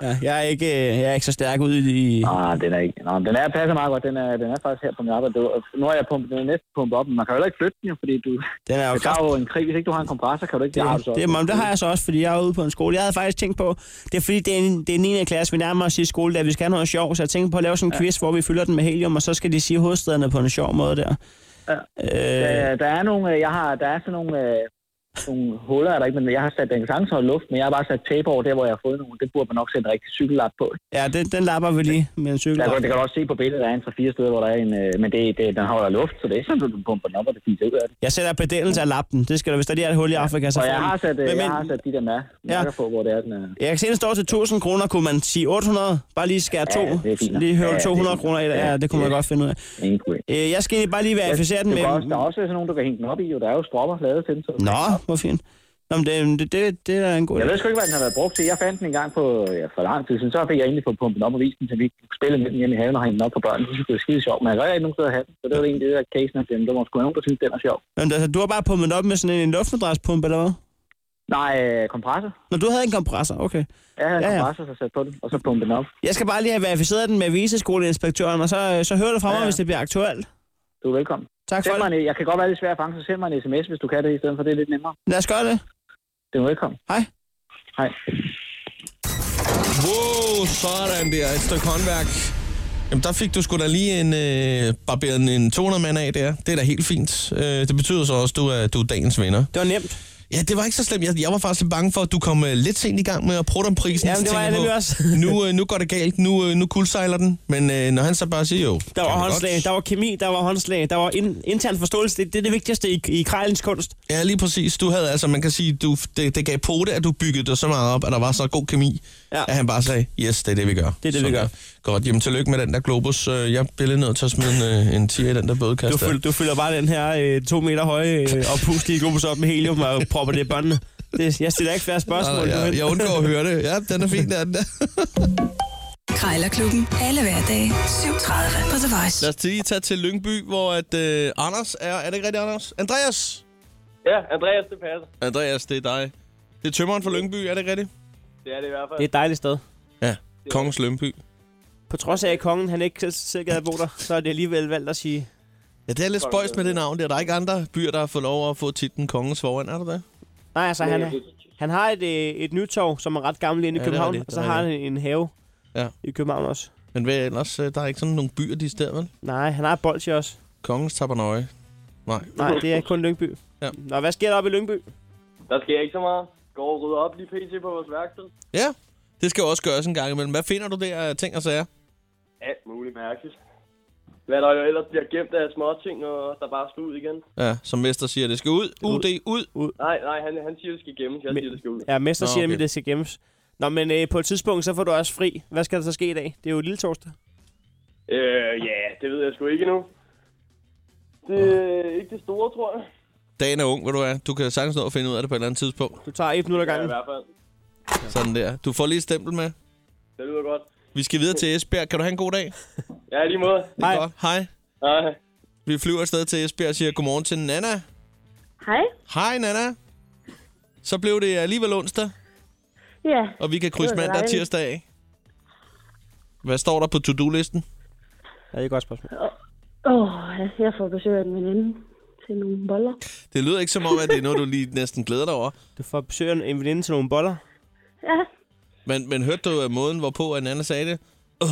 B: Ja, jeg er ikke, øh, jeg er ikke så stærk ude i...
L: Nej, Ah, den er ikke. Nå, men den er passer meget godt. Den er, den er faktisk her på min arbejde. Det var, nu har jeg pumpet, den er næsten pumpet op, men man kan jo heller ikke flytte den, jo, fordi du...
B: Den er jo
L: det tager jo en krig. Hvis ikke du har en kompressor, kan du ikke...
B: Det,
L: har
B: er,
L: du så
B: det, er,
L: også.
B: men det har jeg så også, fordi jeg er ude på en skole. Jeg havde faktisk tænkt på, det er fordi, det er, en, det er 9. klasse, vi nærmer os i skole, der vi skal have noget sjov, så jeg tænkte på at lave sådan en quiz, hvor vi fylder den med helium, og så skal de sige hovedstederne på en sjov måde der.
L: Øh, der er nogle... øh, Jeg har, der er sådan nogle... Øh, nogle huller er der ikke, men jeg har sat, den kan sagtens holde luft, men jeg har bare sat tape over der, hvor jeg har fået nogle. Det burde man nok sætte en rigtig cykellap på.
B: Ja, den, den lapper vi lige med en cykel.
L: Der, kan- det kan du også se på billedet, der er en fra fire steder, hvor der er en, øh, men det, det, den holder luft, så det er ikke sådan, at du pumper den op, og det fiser ud af det.
B: Jeg sætter bedændelse af lappen. Det skal der, hvis der lige er et hul i Afrika, så
L: Og
B: får
L: jeg
B: den.
L: har sat, øh,
B: Altså, Men-
L: jeg
B: men-
L: har sat de der mær- mærker på, hvor det er, den er.
B: Jeg kan se, den står til 1000 kroner. Kunne man sige 800? Bare lige skære
L: Ja,
B: to.
L: det er fint nok.
B: lige
L: Ja,
B: høre
L: det er
B: 200
L: fint.
B: kroner i det. Ja,
L: Ja,
B: det kunne man
L: ja.
B: godt finde ud af.
L: Ingen problem.
B: Øh, Jeg skal egentlig bare lige verificere den
L: du
B: med...
L: kan Også, der er også sådan nogen, du kan hænge den op i, jo. Der er jo stropper lavet til den. Så.
B: Nå, hvor fint. Nå, men det, det, det, det er en god
L: Jeg
B: idé.
L: ved sgu ikke, hvad den har været brugt til. Jeg fandt den en gang på, ja, for lang tid siden. Så fik jeg egentlig fået pumpet den op og vist den, så vi kunne spille med den hjemme i haven og hænge den op på børnene. Det synes jeg, det var skide sjovt, men jeg kan ikke nogen steder at have den. Så det var egentlig det der casen af dem. Der var sgu nogen, der synes, den er sjov.
B: Men altså, du har bare pumpet den op med sådan en luftmadraspumpe, eller hvad?
L: Nej, øh, kompressor.
B: Når du havde en kompressor, okay.
L: Jeg havde en
B: Ja, ja.
L: kompressor, så satte på den, og så pumpede den op.
B: Jeg skal øh, bare lige have verificeret den med viseskoleinspektøren, og så, så hører du fra mig, hvis det bliver aktuelt.
L: Du er velkommen.
C: Tak
L: for det. Jeg kan godt være lidt svær at fange, så send mig en sms, hvis du kan det, i stedet for det er lidt nemmere.
C: Lad os gøre det.
L: Det er velkommen.
C: Hej.
L: Hej.
C: Wow, sådan der. Et stykke håndværk. Jamen, der fik du sgu da lige en, øh, barberet en 200 mand af der. Det er da helt fint. Øh, det betyder så også, at du er, du er dagens vinder.
B: Det var nemt.
C: Ja, det var ikke så slemt. Jeg, jeg var faktisk lidt bange for, at du kom øh, lidt sent i gang med at prutte om prisen.
B: Jamen,
C: Så
B: det var
C: tænker
B: jeg nemlig også.
C: på, nu, øh, nu går det galt. Nu, øh, nu kuldsejler den. Men øh, når han så bare siger jo...
B: Der var håndslag, der var kemi, der var håndslag, der var in, intern forståelse. Det, det er det vigtigste i, i krejlens kunst.
C: Ja, lige præcis. Du havde altså, man kan sige, du, det, det gav på det, at du byggede dig så meget op, at der var så god kemi, ja. at han bare sagde, yes, det er det, vi gør.
B: Det er det, vi
C: Sådan
B: gør.
C: der. Godt, jamen tillykke med den der globus. Øh, Jeg bliver lidt nødt til at smide en, øh, en 10 i den der
B: Du,
C: bødekasse. der.
B: fyld, du fylder bare den her øh, to meter høje øh, oppustige globus op med helium og propper det i børnene. Det, jeg stiller ikke færre spørgsmål.
C: Nej, nej, jeg- jeg undgår at høre det. Ja, den er fin, den der.
A: Krejlerklubben. Alle hverdage 7.30 på The Voice.
C: Lad os lige tage til Lyngby, hvor at, øh, Anders er... Er det ikke rigtigt, Anders? Andreas!
E: Ja, Andreas, det passer.
C: Andreas, det er dig. Det er tømmeren fra Lyngby, er det ikke rigtigt?
E: Det er det i hvert fald.
B: Det er et dejligt sted.
C: Ja, Kongens Lyngby.
B: På trods af, at kongen han ikke selv gad bo der, så er det alligevel valgt at sige...
C: Ja, det er lidt spøjst med det navn der. Der er ikke andre byer, der har fået lov at få titlen Kongens foran, er der det?
B: Nej, altså han, han har et, øh, et nytorv, som er ret gammel inde i
C: Ja, det er
B: København,
C: rigtigt,
B: og så
C: det er
B: har han en have
C: Ja.
B: i København også.
C: Men hvad ellers? Øh, Der er ikke sådan nogle byer, de steder, vel?
B: Nej, han har et bolsje også.
C: Kongens Tabernøje. Nej.
B: Nej, det er kun Lyngby.
C: Ja.
B: Nå, hvad sker der oppe i Lyngby?
E: Der sker ikke så meget. Går og rydder op lige pt. på vores værksted.
C: Ja, det skal jo også gøres en gang imellem. Hvad finder du der af ting og sager?
E: Alt muligt mærkeligt. Hvad der jo ellers bliver gemt af småting, og der bare skal ud igen.
C: Ja, som Mester siger, det skal ud. UD, ud.
B: ud.
E: Nej, nej, han, han siger, det skal gemmes. Jeg siger, det skal ud.
B: Ja, mester
C: Nå,
B: siger, okay.
C: okay.
B: at det skal gemmes. Nå, men øh, på et tidspunkt, så får du også fri. Hvad skal der så ske i dag? Det er jo lille torsdag.
E: Øh, ja, det ved jeg sgu ikke endnu. Det er ikke det store, tror jeg.
C: Dagen er ung, hvor du er. Du kan sagtens nå at finde ud af det på et eller andet tidspunkt.
B: Du tager et minut ad
E: Ja, i
B: gangen.
E: hvert fald.
C: Sådan der. Du får lige et stempel med.
E: Det lyder godt.
C: Vi skal videre til Esbjerg. Kan du have en god dag? Det
E: Ja, i lige måde.
C: er Godt. Hej.
E: Hej.
C: Vi flyver afsted til Esbjerg og siger godmorgen til Nana.
M: Hej.
C: Hej, Nana. Så blev det alligevel onsdag,
M: Ja.
C: og vi kan krydse
M: Det var da
C: mandag og
M: dejligt.
C: tirsdag af. Hvad står der på to-do-listen?
B: Ja, det er et godt spørgsmål.
M: Åh, oh, jeg får besøg af en veninde til nogle boller.
C: Det lyder ikke som om, at det er noget, du lige næsten glæder dig over.
B: Du får besøg af en veninde til nogle boller.
M: Ja,
C: Men, men hørte du øh, måden, hvorpå en anden sagde det? Uh,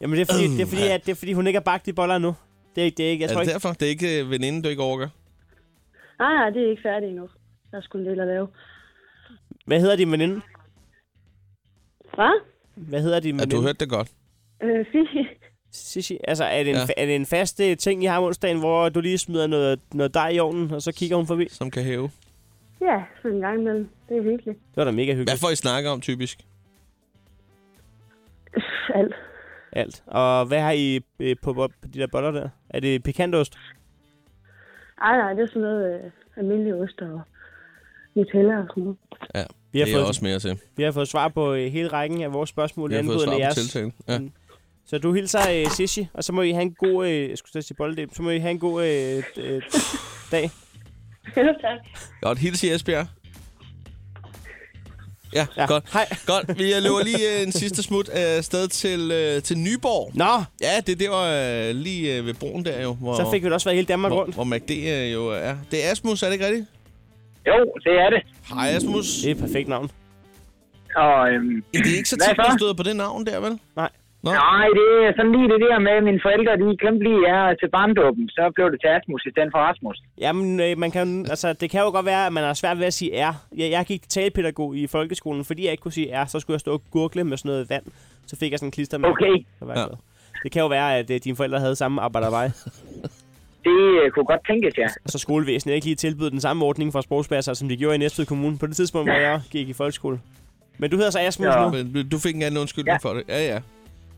B: Jamen, det er fordi, det er fordi, at, det er, fordi hun ikke har bagt de boller endnu. Det er, det er ikke, jeg
C: Øh, er
B: tror
C: det
B: ikke.
C: derfor? Det er ikke øh, veninden, du ikke overgår?
M: nej, nej, det er ikke færdigt endnu. Der er sgu en del at lave.
B: Hvad hedder din veninde?
M: Hvad?
B: Hvad hedder din
C: Ja,
B: veninde?
C: du hørte det godt.
M: Øh, Fifi.
B: Sissi, altså er det, en,
C: Ja.
B: ja. er det en fast øh, ting, I har om onsdagen, hvor du lige smider noget, noget dej i ovnen, og så kigger hun forbi?
C: Som kan hæve.
M: Ja, for en gang imellem. Det er hyggeligt.
B: Det var da mega hyggeligt.
C: Hvad får I snakket om, typisk?
M: Alt.
B: Alt. Og hvad har I øh, på, på de der boller der? Er det pikantost?
M: Ej, nej, det er sådan noget øh, almindelig ost og Nutella og sådan noget.
C: Ja,
B: Vi har
C: det er
B: fået-
C: også mere til.
B: Vi har fået svar på øh, hele rækken af vores spørgsmål,
C: Vi har fået
B: angående
C: svar på
B: jeres.
C: tiltalen. Ja.
B: Mm. Så du hilser øh, Sissi, og så må I have en god... Øh, jeg skulle til at sige bolledel. Så må I have en god øh, øh, dag.
M: tak.
C: Godt, hils i Esbjerg. Ja, ja. godt.
B: Hej.
C: Godt, vi øh, løber lige øh, en sidste smut afsted til, øh, til Nyborg.
B: Nå!
C: Ja, det er der øh, lige øh, ved broen der jo. Hvor,
B: Så fik vi det også været hele Danmark
C: hvor,
B: rundt.
C: Hvor MACD øh, jo er. Det er Asmus, er det ikke rigtigt?
N: Jo, det er det.
C: Hej Asmus.
B: Det er et perfekt navn.
N: Og, øhm,
C: Ja, det er ikke så
N: hvad
C: tit,
N: så?
C: man støder på det navn der, vel?
B: Nej.
C: Nå.
N: Nej, det er sådan lige det der med, at mine forældre, de glemte lige jer til barndåben. Så blev det til Asmus i stedet for Rasmus.
B: Jamen, øh, man kan, altså, det kan jo godt være, at man har svært ved at sige R. Jeg, jeg gik til talepædagog i folkeskolen, fordi jeg ikke kunne sige R, så skulle jeg stå og gurgle med sådan noget vand. Så fik jeg sådan en klister med.
N: Okay.
B: Ja. Det kan jo være, at øh, dine forældre havde samme arbejdervej,
N: Det øh, kunne godt tænkes, ja.
B: og så skolevæsenet ikke lige tilbød den samme ordning for sprogspasser, som de gjorde i Næstved Kommune på det tidspunkt, hvor jeg gik i folkeskole. Men du hedder så Asmus
C: Ja.
B: ja. nu.
C: Men du fik en anden undskyldning ja. for det. Ja, ja.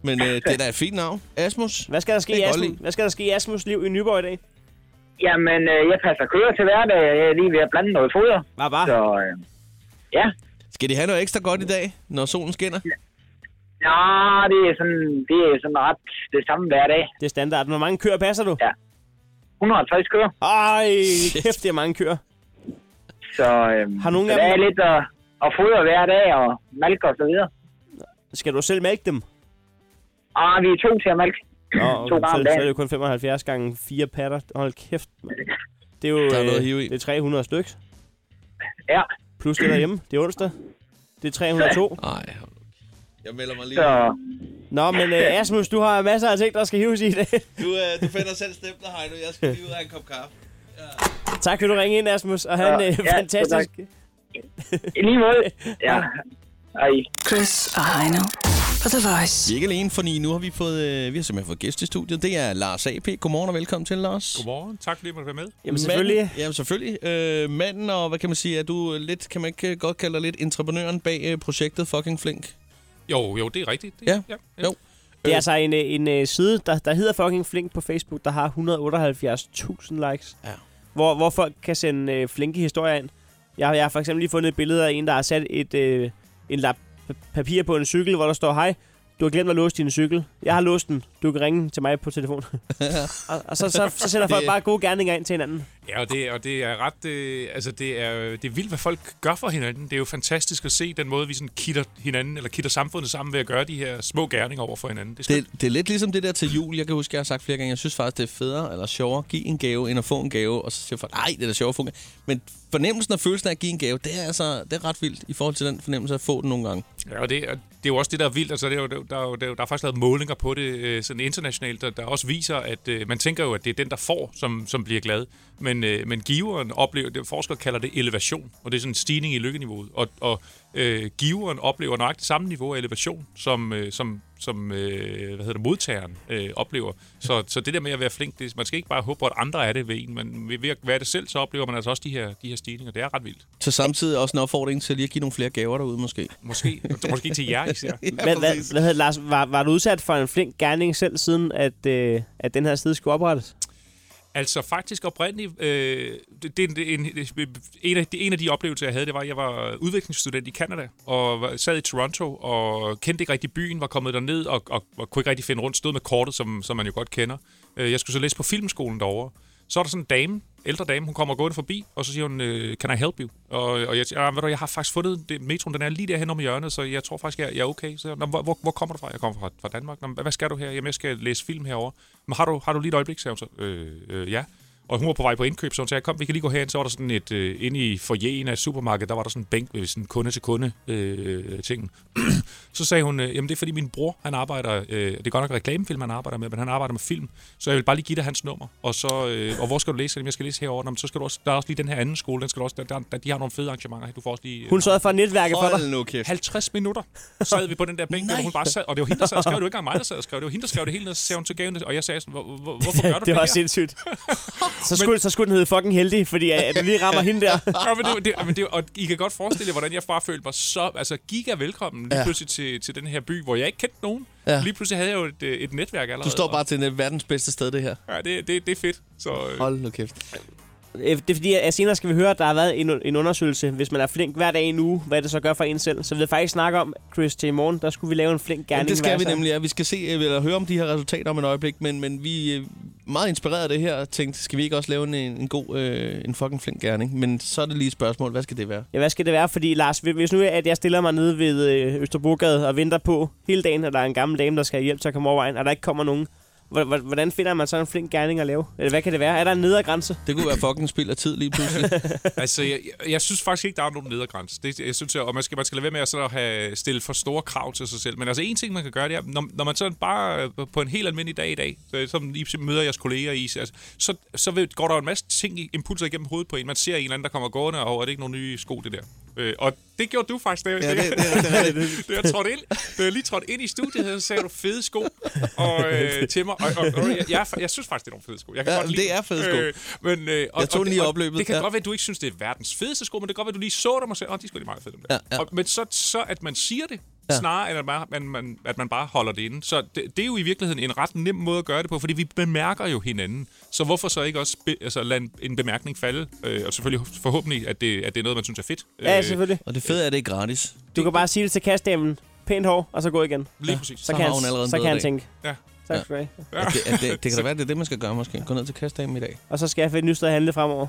C: Men øh, det er da et fint navn. Asmus.
B: Hvad skal der ske,
C: Det
B: i
C: er godt
B: Asmus? Hvad skal der ske i Asmus' liv i Nyborg i dag?
N: Jamen, øh, jeg passer køer til hverdag. Jeg er lige ved at blande noget foder.
B: Hvad bare?
N: Så, øh, ja.
C: Skal de have noget ekstra godt i dag, når solen skinner?
N: Nå, det er sådan, det er sådan ret det samme hver dag.
B: Det er standard. Hvor mange køer passer du?
N: Ja. 150 køer.
B: Ej, kæft, det er mange køer.
N: Så, øh,
B: Har nogen
N: så
B: af
N: der
B: dem-
N: er lidt at, at fodre hver dag og mælke og så videre.
B: Skal du selv mælke dem?
N: Ah, vi er to til at mælke.
B: Nå,
L: to
B: okay,
L: gange
B: så,
L: om
B: så er
L: dagen.
B: det jo kun 75 gange 4 patter. Hold kæft, mand. Det er jo
C: Der er noget at
B: øh, det er 300 stykker.
L: Ja.
B: Plus det derhjemme. Det er onsdag. Det er 302.
C: Nej. Jeg melder mig lige.
B: Så- Nå, men øh, Asmus, du har masser af ting, der skal hives i det.
C: Du, øh, du finder selv stempler, Heino. Jeg skal lige ud af en kop kaffe.
B: tak, fordi du ringe ind, Asmus. Og han
C: Ja,
B: er
C: ja,
B: øh, fantastisk.
L: I lige måde. Ja. Hej.
A: Chris og Heino på The Voice.
C: Vi er ikke alene, fordi nu har vi fået, øh, vi har simpelthen fået gæst i studiet. Det er Lars A.P. Godmorgen og velkommen til, Lars.
F: Godmorgen. Tak fordi I måtte være med.
C: Manden, jamen selvfølgelig. Øh, manden, og hvad kan man sige, er du lidt, kan man ikke øh, godt kalde dig lidt entreprenøren bag øh, projektet Fucking Flink?
F: Jo, jo, det er rigtigt. Det,
C: Ja.
F: ja.
C: Jo.
B: Det er altså en, øh, en øh, side, der, der hedder fucking Flink på Facebook, der har 178.000 likes.
C: Ja.
B: Hvor, hvor folk kan sende øh, flinke historier ind. Jeg, jeg har for eksempel lige fundet et billede af en, der har sat et, øh, en lap pa- papir på en cykel, hvor der står, hej, du har glemt at låse din cykel. Jeg har låst den. Du kan ringe til mig på telefon. og, og så, så, så sender folk
F: Det-
B: bare gode gerninger ind til hinanden.
F: Ja, og det, og det er ret... Øh, altså, det er, det er vildt, hvad folk gør for hinanden. Det er jo fantastisk at se den måde, vi sådan kitter hinanden, eller kitter samfundet sammen ved at gøre de her små gerninger over for hinanden. Det,
C: Det, det er lidt ligesom det der til jul. Jeg kan huske, jeg har sagt flere gange, jeg synes faktisk, det er federe eller sjovere at give en gave, end at få en gave. Og så siger folk, nej, det er da sjovere at få en gave. Men fornemmelsen og følelsen af at give en gave, det er altså det er ret vildt i forhold til den fornemmelse af at få den nogle gange.
F: Ja, og det, og det er jo også det, der er vildt. Altså, det er jo, der, er jo, der, er jo, der er faktisk lavet målinger på det øh, sådan internationalt, der, der også viser, at øh, man tænker jo, at det er den, der får, som, som bliver glad. Men, øh, men giveren oplever, det, forskere kalder det elevation, og det er sådan en stigning i lykkeniveauet. Og, og øh, giveren oplever nok det samme niveau af elevation, som, øh, som, som øh, hvad hedder det, modtageren øh, oplever. Så, så det der med at være flink, det, man skal ikke bare håbe på, at andre er det ved en, men ved ved at være det selv, så oplever man altså også de her, de her stigninger. Det er ret vildt.
C: Så samtidig også en opfordring til lige at give nogle flere gaver derude, måske.
F: Måske. Måske til jer især.
B: Hvad, hvad, hvad hedder det, Lars? Var, var du udsat for en flink gerning selv, siden at, øh, at den her side skulle oprettes?
F: Altså faktisk oprindeligt, øh, det, det, det, en, det, en, af, det, en af de oplevelser, jeg havde, det var, at jeg var udviklingsstudent i Canada, og var- sad i Toronto, og kendte ikke rigtig byen, var kommet derned, og, og, og kunne ikke rigtig finde rundt, stod med kortet, som, som man jo godt kender. Øh, Jeg skulle så læse på filmskolen derovre. Så er der sådan en dame, ældre dame, hun kommer gående forbi, og så siger hun, øh, can I help you? Og, og jeg siger, "Ah, ved du, jeg har faktisk fundet, det, metroen den er lige derhen om hjørnet, så jeg tror faktisk, jeg, jeg er okay. Så, Nå, hvor, hvor, hvor kommer du fra? Jeg kommer fra, fra Danmark. Nå, men hvad skal du her? Jamen, jeg skal læse film herover. Men har du, har du lige et øjeblik, sagde hun så. Øh, øh, ja. Og hun var på vej på indkøb, så hun sagde, kom, vi kan lige gå herhen. Så var der sådan et, øh, inde i forjen af supermarkedet, der var der sådan en bænk med sådan kunde til kunde øh, ting. så sagde hun, øh, jamen det er fordi min bror, han arbejder, øh, det er godt nok reklamefilm, han arbejder med, men han arbejder med film, så jeg vil bare lige give dig hans nummer. Og, så, øh, og hvor skal du læse? Jamen, jeg skal læse herovre. Nå, men så skal du også, der er også lige den her anden skole, den skal du også, der, der, der, de har nogle fede arrangementer her, du får også lige... øh,
B: Hun sørgede for netværket for dig.
C: nu kæft.
F: 50 minutter sad vi på den der bænk, hvor hun bare sad, og det var hende, der sad og skrev, det var ikke engang mig, der sad og skrev, det var hende, der skrev det hele ned, og så sagde hun til gaven, og jeg sagde sådan, hvor, hvor, hvorfor gør du det
B: det var
F: her?
B: sindssygt. Så skulle, så skulle den hedde fucking heldig, fordi at at du lige rammer hende der.
F: ja, men det, det, men det, og I kan godt forestille jer, hvordan jeg bare følte mig så altså, giga velkommen lige
C: Ja.
F: ja. pludselig til, til den her by, hvor jeg ikke kendte nogen.
C: Ja.
F: Ja. Lige pludselig havde jeg jo et, øh, et netværk allerede.
C: Du står bare til det verdens bedste sted, det her.
F: Ja, det, det, det er fedt. Så, øh,
C: Hold nu kæft.
B: Øh, Det er fordi, at senere skal vi høre, at der har været en, en undersøgelse. Hvis man er flink hver dag i en uge, hvad det så gør for en selv. Så vi vil faktisk snakke om, Chris, til i morgen, der skulle vi lave en flink gerning.
C: Jamen, det skal
B: hver
C: vi
B: især.
C: nemlig, ja. Vi skal se øh, eller høre om de her resultater om et øjeblik, men, men vi er meget inspireret af det her og tænkte, skal vi ikke også lave en, en god, øh, en fucking flink gerning? Men så er det lige et spørgsmål, hvad skal det være?
B: Ja, hvad skal det være? Fordi Lars, hvis- hvis nu at jeg stiller mig nede ved øh, Østerbrogade og venter på hele dagen, at der er en gammel dame, der skal have hjælp til at komme over vejen, og der ikke kommer nogen. Hvor- hvor- Hvordan finder man så en flink gerning at lave? Eller hvad kan det være? Er der en nedre grænse?
C: Det kunne være fucking spild af tid lige pludselig.
F: altså, jeg, jeg, jeg synes faktisk ikke, der er nogen nedergrænse. Det, jeg synes, jeg, og man skal, man skal lade være med at, sådan at have, stille for store krav til sig selv. Men altså, en ting, man kan gøre, det er, når, når man sådan bare øh, på en helt almindelig dag i dag, øh, som I møder jeres kolleger i, altså, så, så ved, går der jo en masse ting, i- impulser igennem hovedet på en. Man ser en eller anden, der kommer gående, og "Åh, er det ikke nogen nye sko, det der? Øh, og det gjorde du faktisk, da jeg,
C: Ja,
F: ja,
C: det-
F: det,
C: det er- det er rigtigt.
F: da jeg trådte ind, da jeg lige trådte ind i studiet, så sagde du fede sko og, øh, til mig. Og, og, og jeg, jeg, jeg, synes faktisk, det er nogle fede sko. Jeg kan
C: Ja,
F: godt
C: men
F: lide
C: det
F: dem.
C: er fede sko.
F: men, øh,
C: Jeg tog den lige i opløbet,
F: Det kan
C: ja.
F: godt være, at du ikke synes, det er verdens fedeste sko, men det kan godt være, at du lige så dem og sagde, åh, de er sgu lige meget fede, dem der.
C: Ja, ja.
F: Og, men så, så, at man siger det,
C: Ja.
F: ja. snarere end at man, man, man, at man bare holder det inde. Så det, det er jo i virkeligheden en ret nem måde at gøre det på, fordi vi bemærker jo hinanden. Så hvorfor så ikke også be, altså, lade en- en bemærkning falde? Øh, og selvfølgelig forhåbentlig, at det, at det er noget, man synes er fedt.
C: Øh,
B: Ja, selvfølgelig.
C: Og det fede er, at det er gratis.
B: Du kan bare sige det til kastdamen. Pænt hår, og så gå igen.
F: Lige præcis.
B: Så,
C: Så
B: kan
C: har
B: han,
C: hun allerede en
B: så kan
C: bedre
B: han
C: dag.
B: tænke.
F: Ja.
B: Tak skal du have.
C: At det, at det, det kan da være, det er det, man skal gøre måske. Gå ned til kastdamen i dag.
B: Og så skal jeg finde et nyt sted at handle fremover.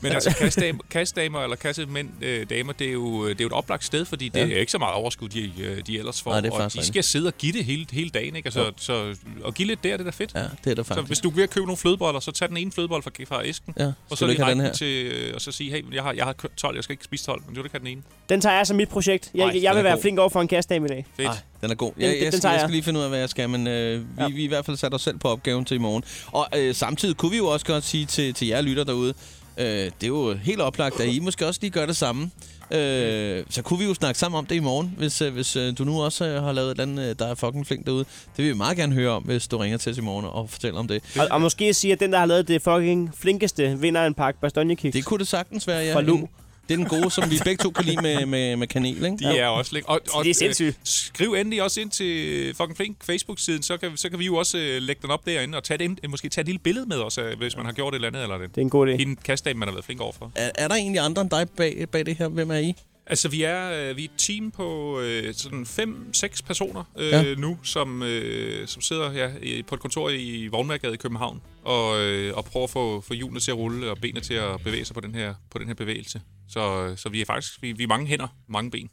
O: Men altså, kassedamer, kassedamer eller kassemænd, øh, damer, det er, jo, det er jo et oplagt sted, fordi det
C: Ja.
O: er ikke så meget overskud, de, øh, de ellers får.
C: Nej, det er
O: og
C: faktisk
O: de
C: rigtigt.
O: skal sidde og give det hele, hele dagen, ikke? Altså, så, og give lidt der, det er da fedt. Ja,
C: det er der
O: Så
C: faktisk.
O: hvis du er ved at købe nogle flødeboller, så tag den ene flødebold fra, fra æsken,
C: Ja,
O: og
C: skal
O: så
C: du ikke
O: lige
C: have den
O: række
C: her?
O: den til, øh, og så sige, hey, jeg har, jeg har købt 12, jeg skal ikke spise 12, men du kan ikke have den ene.
B: Den tager jeg som mit projekt. Jeg,
O: Ej,
B: Ej,
O: den
B: jeg
O: er
B: vil være
O: god.
B: flink over for en kastdame i dag.
O: Fedt.
C: Ej, den er god.
B: Den-
C: Jeg,
B: den-
C: jeg,
B: den
C: skal,
B: tager
C: jeg
B: jeg.
C: skal lige finde ud af, hvad jeg skal, men øh, vi, ja. vi er i hvert fald sat os selv på opgaven til i morgen. Og øh, samtidig kunne vi jo også godt sige til, til jer lytter derude, øh, det er jo helt oplagt, at I måske også lige gør det samme. Øh, så kunne vi jo snakke sammen om det i morgen, hvis, øh, hvis øh, du nu også øh, har lavet et eller andet, øh, der er fucking flink derude. Det vil vi meget gerne høre om, hvis du ringer til os i morgen og fortæller om det.
B: Og, og måske sige, at den, der har lavet det fucking flinkeste, vinder en pakke bastonjekiks. Det
C: kunne det sagtens være, ja.
B: Fra Lu.
C: En- Det er den gode, som vi begge to kan lide med, med, med kanel, ikke?
O: De ja. er også lækre. Og, og,
B: Det er sindssygt.
O: Øh, skriv endelig også ind til øh, fucking flink Facebook-siden, så kan, så kan vi jo også øh, lægge den op derinde og tage det, ind- øh, måske tage et lille billede med os, øh, hvis man har gjort et eller andet. Eller det
B: er en god idé.
O: Hende kastdame, man har været flink overfor.
C: Er, er der egentlig andre end dig bag, bag det her? Hvem er I?
O: Altså, vi er, øh, vi er et team på øh, sådan fem, seks personer øh,
C: Ja.
O: ja. nu, som, øh, som sidder ja, i- på et kontor i Vognmærgade i København og, øh, og prøver at få, få hjulene til at rulle og benene til at bevæge sig på den her, på den her bevægelse. Så, øh, så vi er faktisk vi, vi er mange hænder, mange ben.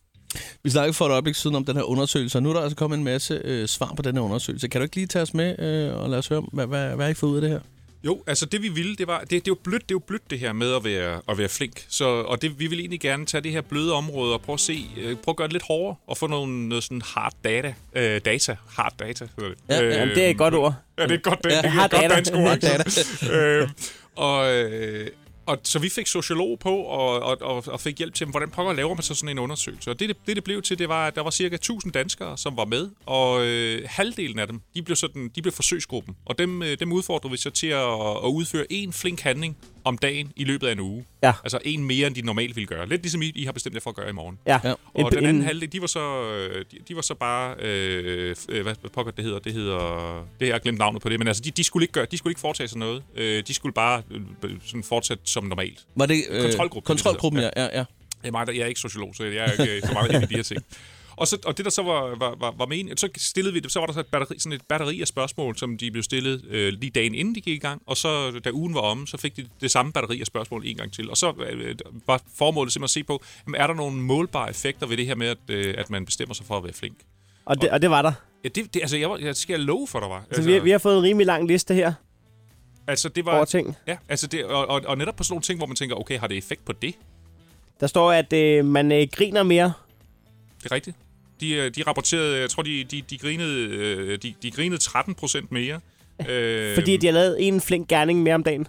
C: Vi snakkede for et øjeblik siden om den her undersøgelse, og nu er der altså kommet en masse øh, svar på den her undersøgelse. Kan du ikke lige tage os med øh, og lade os høre, om, hvad, hvad, hvad har I fået ud af det her?
O: Jo, altså det vi ville, det var, det, det er jo blødt, det er jo blødt det her med at være, at være flink. Så, og det, vi vil egentlig gerne tage det her bløde område og prøve at se, øh, prøve at gøre det lidt hårdere og få nogle, noget sådan hard data, øh, data, hard data hedder det. Øh,
B: Ja, ja, det er et godt ord.
O: Ja, det er et godt, det,
B: Ja,
O: ja, det er
B: hard
O: et godt
B: data.
O: dansk ord.
B: Hard
O: Ikke? øh, og, øh, og, så vi fik sociolog på og, og, og, og fik hjælp til, hvordan pokker laver man så sådan en undersøgelse. Og det, det, det, det blev til, det var, at der var cirka 1000 danskere, som var med, og øh, halvdelen af dem, de blev, sådan, de blev forsøgsgruppen. Og dem, øh, dem udfordrede vi så til at, at udføre en flink handling om dagen i løbet af en uge.
B: Ja.
O: Altså en mere, end de normalt ville gøre. Lidt ligesom I, I har bestemt jer for at gøre i morgen.
B: Ja. Ja.
O: Og
B: En-
O: den anden
B: en-
O: halvdel, de var så, øh, de, de var så bare, øh, f- øh, hvad hvad pokker det hedder, det hedder, det jeg har glemt navnet på det, men altså de, de skulle ikke gøre, de skulle ikke foretage sig noget. Øh, de skulle bare øh, b- sådan fortsætte som normalt.
C: Var det, øh,
O: kontrolgruppen? ligesom.
C: kontrolgruppen, ja, ja, ja.
O: Det er mig, der, jeg er ikke sociolog, så jeg er ikke øh, så meget inde i de her ting. Og, så, og det, der så var, var, var, var meningen, så stillede vi det, så var der så et batteri, sådan et batteri af spørgsmål, som de blev stillet øh, lige dagen inden de gik i gang, og så da ugen var omme, så fik de det samme batteri af spørgsmål en gang til. Og så øh, var formålet simpelthen at se på, jamen, er der nogle målbare effekter ved det her med, at, øh, at man bestemmer sig for at være flink?
B: Og det, og det var der.
O: Ja, det, det, altså, jeg, var, jeg skal jeg love for, der var.
B: Så
O: Altså,
B: vi, vi har fået en rimelig lang liste her.
O: altså, det var,
B: over ting.
O: Ja, altså det, og, og, og netop på sådan nogle ting, hvor man tænker, okay, har det effekt på det?
B: Der står, at øh, man øh, griner mere.
O: Det er rigtigt. De, øh, de rapporterede, jeg tror, de, de, de, grinede, øh, de, de grinede 13 procent mere. Øh,
B: Fordi de har lavet en flink gerning mere om dagen.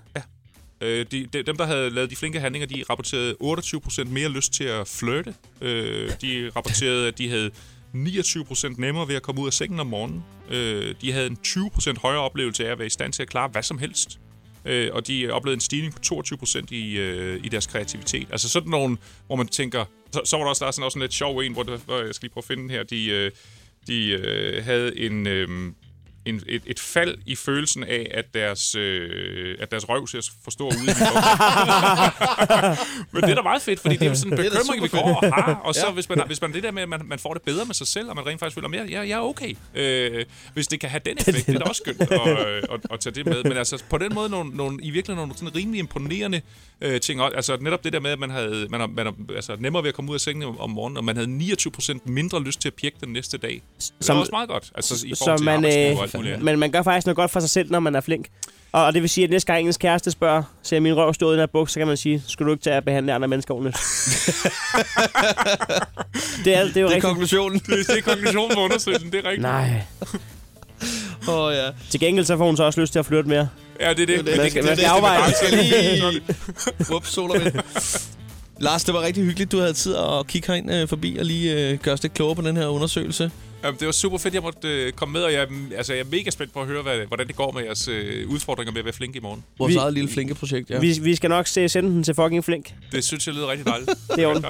O: øh, de, de, dem, der havde lavet de flinke handlinger, de rapporterede 28 procent mere lyst til at flirte. Øh, de rapporterede, at de havde 29 procent nemmere ved at komme ud af sengen om morgenen. Øh, de havde en 20 procent højere oplevelse af at være i stand til at klare hvad som helst. Øh, og de oplevede en stigning på 22 procent i, øh, i deres kreativitet. Altså sådan nogle, hvor man tænker... Så, så var der også, der er sådan også en lidt sjov en, hvor, det, hvor jeg skal lige prøve at finde den her. De, øh, de øh, havde en, øh, en, et, et fald i følelsen af, at deres, øh, at deres røv ser for stor ud. i den bukser. Men det er da meget fedt, fordi det er jo sådan en
C: Det er da
O: bekymring, vi
C: super
O: går og
C: fedt.
O: har. Og så
C: Ja.
O: hvis, man, hvis man det der med, at man, man får det bedre med sig selv, og man rent faktisk føler, at jeg, jeg er okay. Øh, hvis det kan have den effekt, det er da også skønt at, øh, at, at tage det med. Men altså på den måde, nogle, nogle, i virkeligheden nogle sådan rimelig imponerende øh, ting. Og, Altså netop det der med, at man havde man, har- man, har- altså, nemmere ved at komme ud af sengen om, om morgenen, og man havde 29% mindre lyst til at pjekke den næste dag. det er
B: Som-
O: også meget godt, altså i
B: Så
O: forhold til
B: man,
O: arbejdsliv og alt muligt
B: øh,
O: andet.
B: man, man gør faktisk noget godt for sig selv, når man er flink. Og, og det vil sige, at næste gang ens kæreste spørger, ser min røv stå i den her buks, så kan man sige, skulle du ikke tage at behandle andre mennesker ordentligt? det er, det er jo
C: Det er
B: rigtigt.
C: konklusionen.
O: Det, det er konklusionen på undersøgelsen, det er rigtigt.
B: Nej.
C: Åh, oh, ja.
B: Til gengæld så får hun så også lyst til at flytte mere.
O: Ja, det er det.
B: Hvad skal, hvad skal
C: Vi
B: afveje?
C: skal lige... Ups, soler med. Lars, det var rigtig hyggeligt, du havde tid at kigge herind øh, forbi og lige øh, gøre os lidt klogere på den her undersøgelse.
O: Jamen, det var super fedt, jeg måtte øh, komme med, og jeg, mm, altså, jeg er mega spændt på at høre, hvad, hvordan det går med jeres øh, udfordringer med at være flink i morgen.
C: Vores eget lille flinke projekt, ja.
B: Vi, vi skal nok se, sende den til fucking flink.
O: Det synes jeg lyder rigtig dejligt.
B: Det er ondt.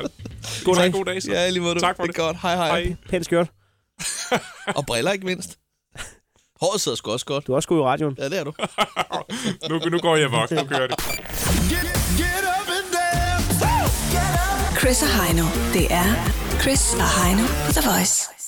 O: God dag.
B: Tak.
O: God dag så.
C: Ja, i lige måde.
O: Tak for det.
C: Godt, hej hej. hej.
B: Pænt skørt.
C: Og briller ikke mindst. Håret sidder sgu også godt.
B: Du er også god i radioen.
C: Ja, det er du.
O: nu, nu går jeg vok. Nu kører det.
A: Chris og Heino. Det er Chris og Heino på The Voice.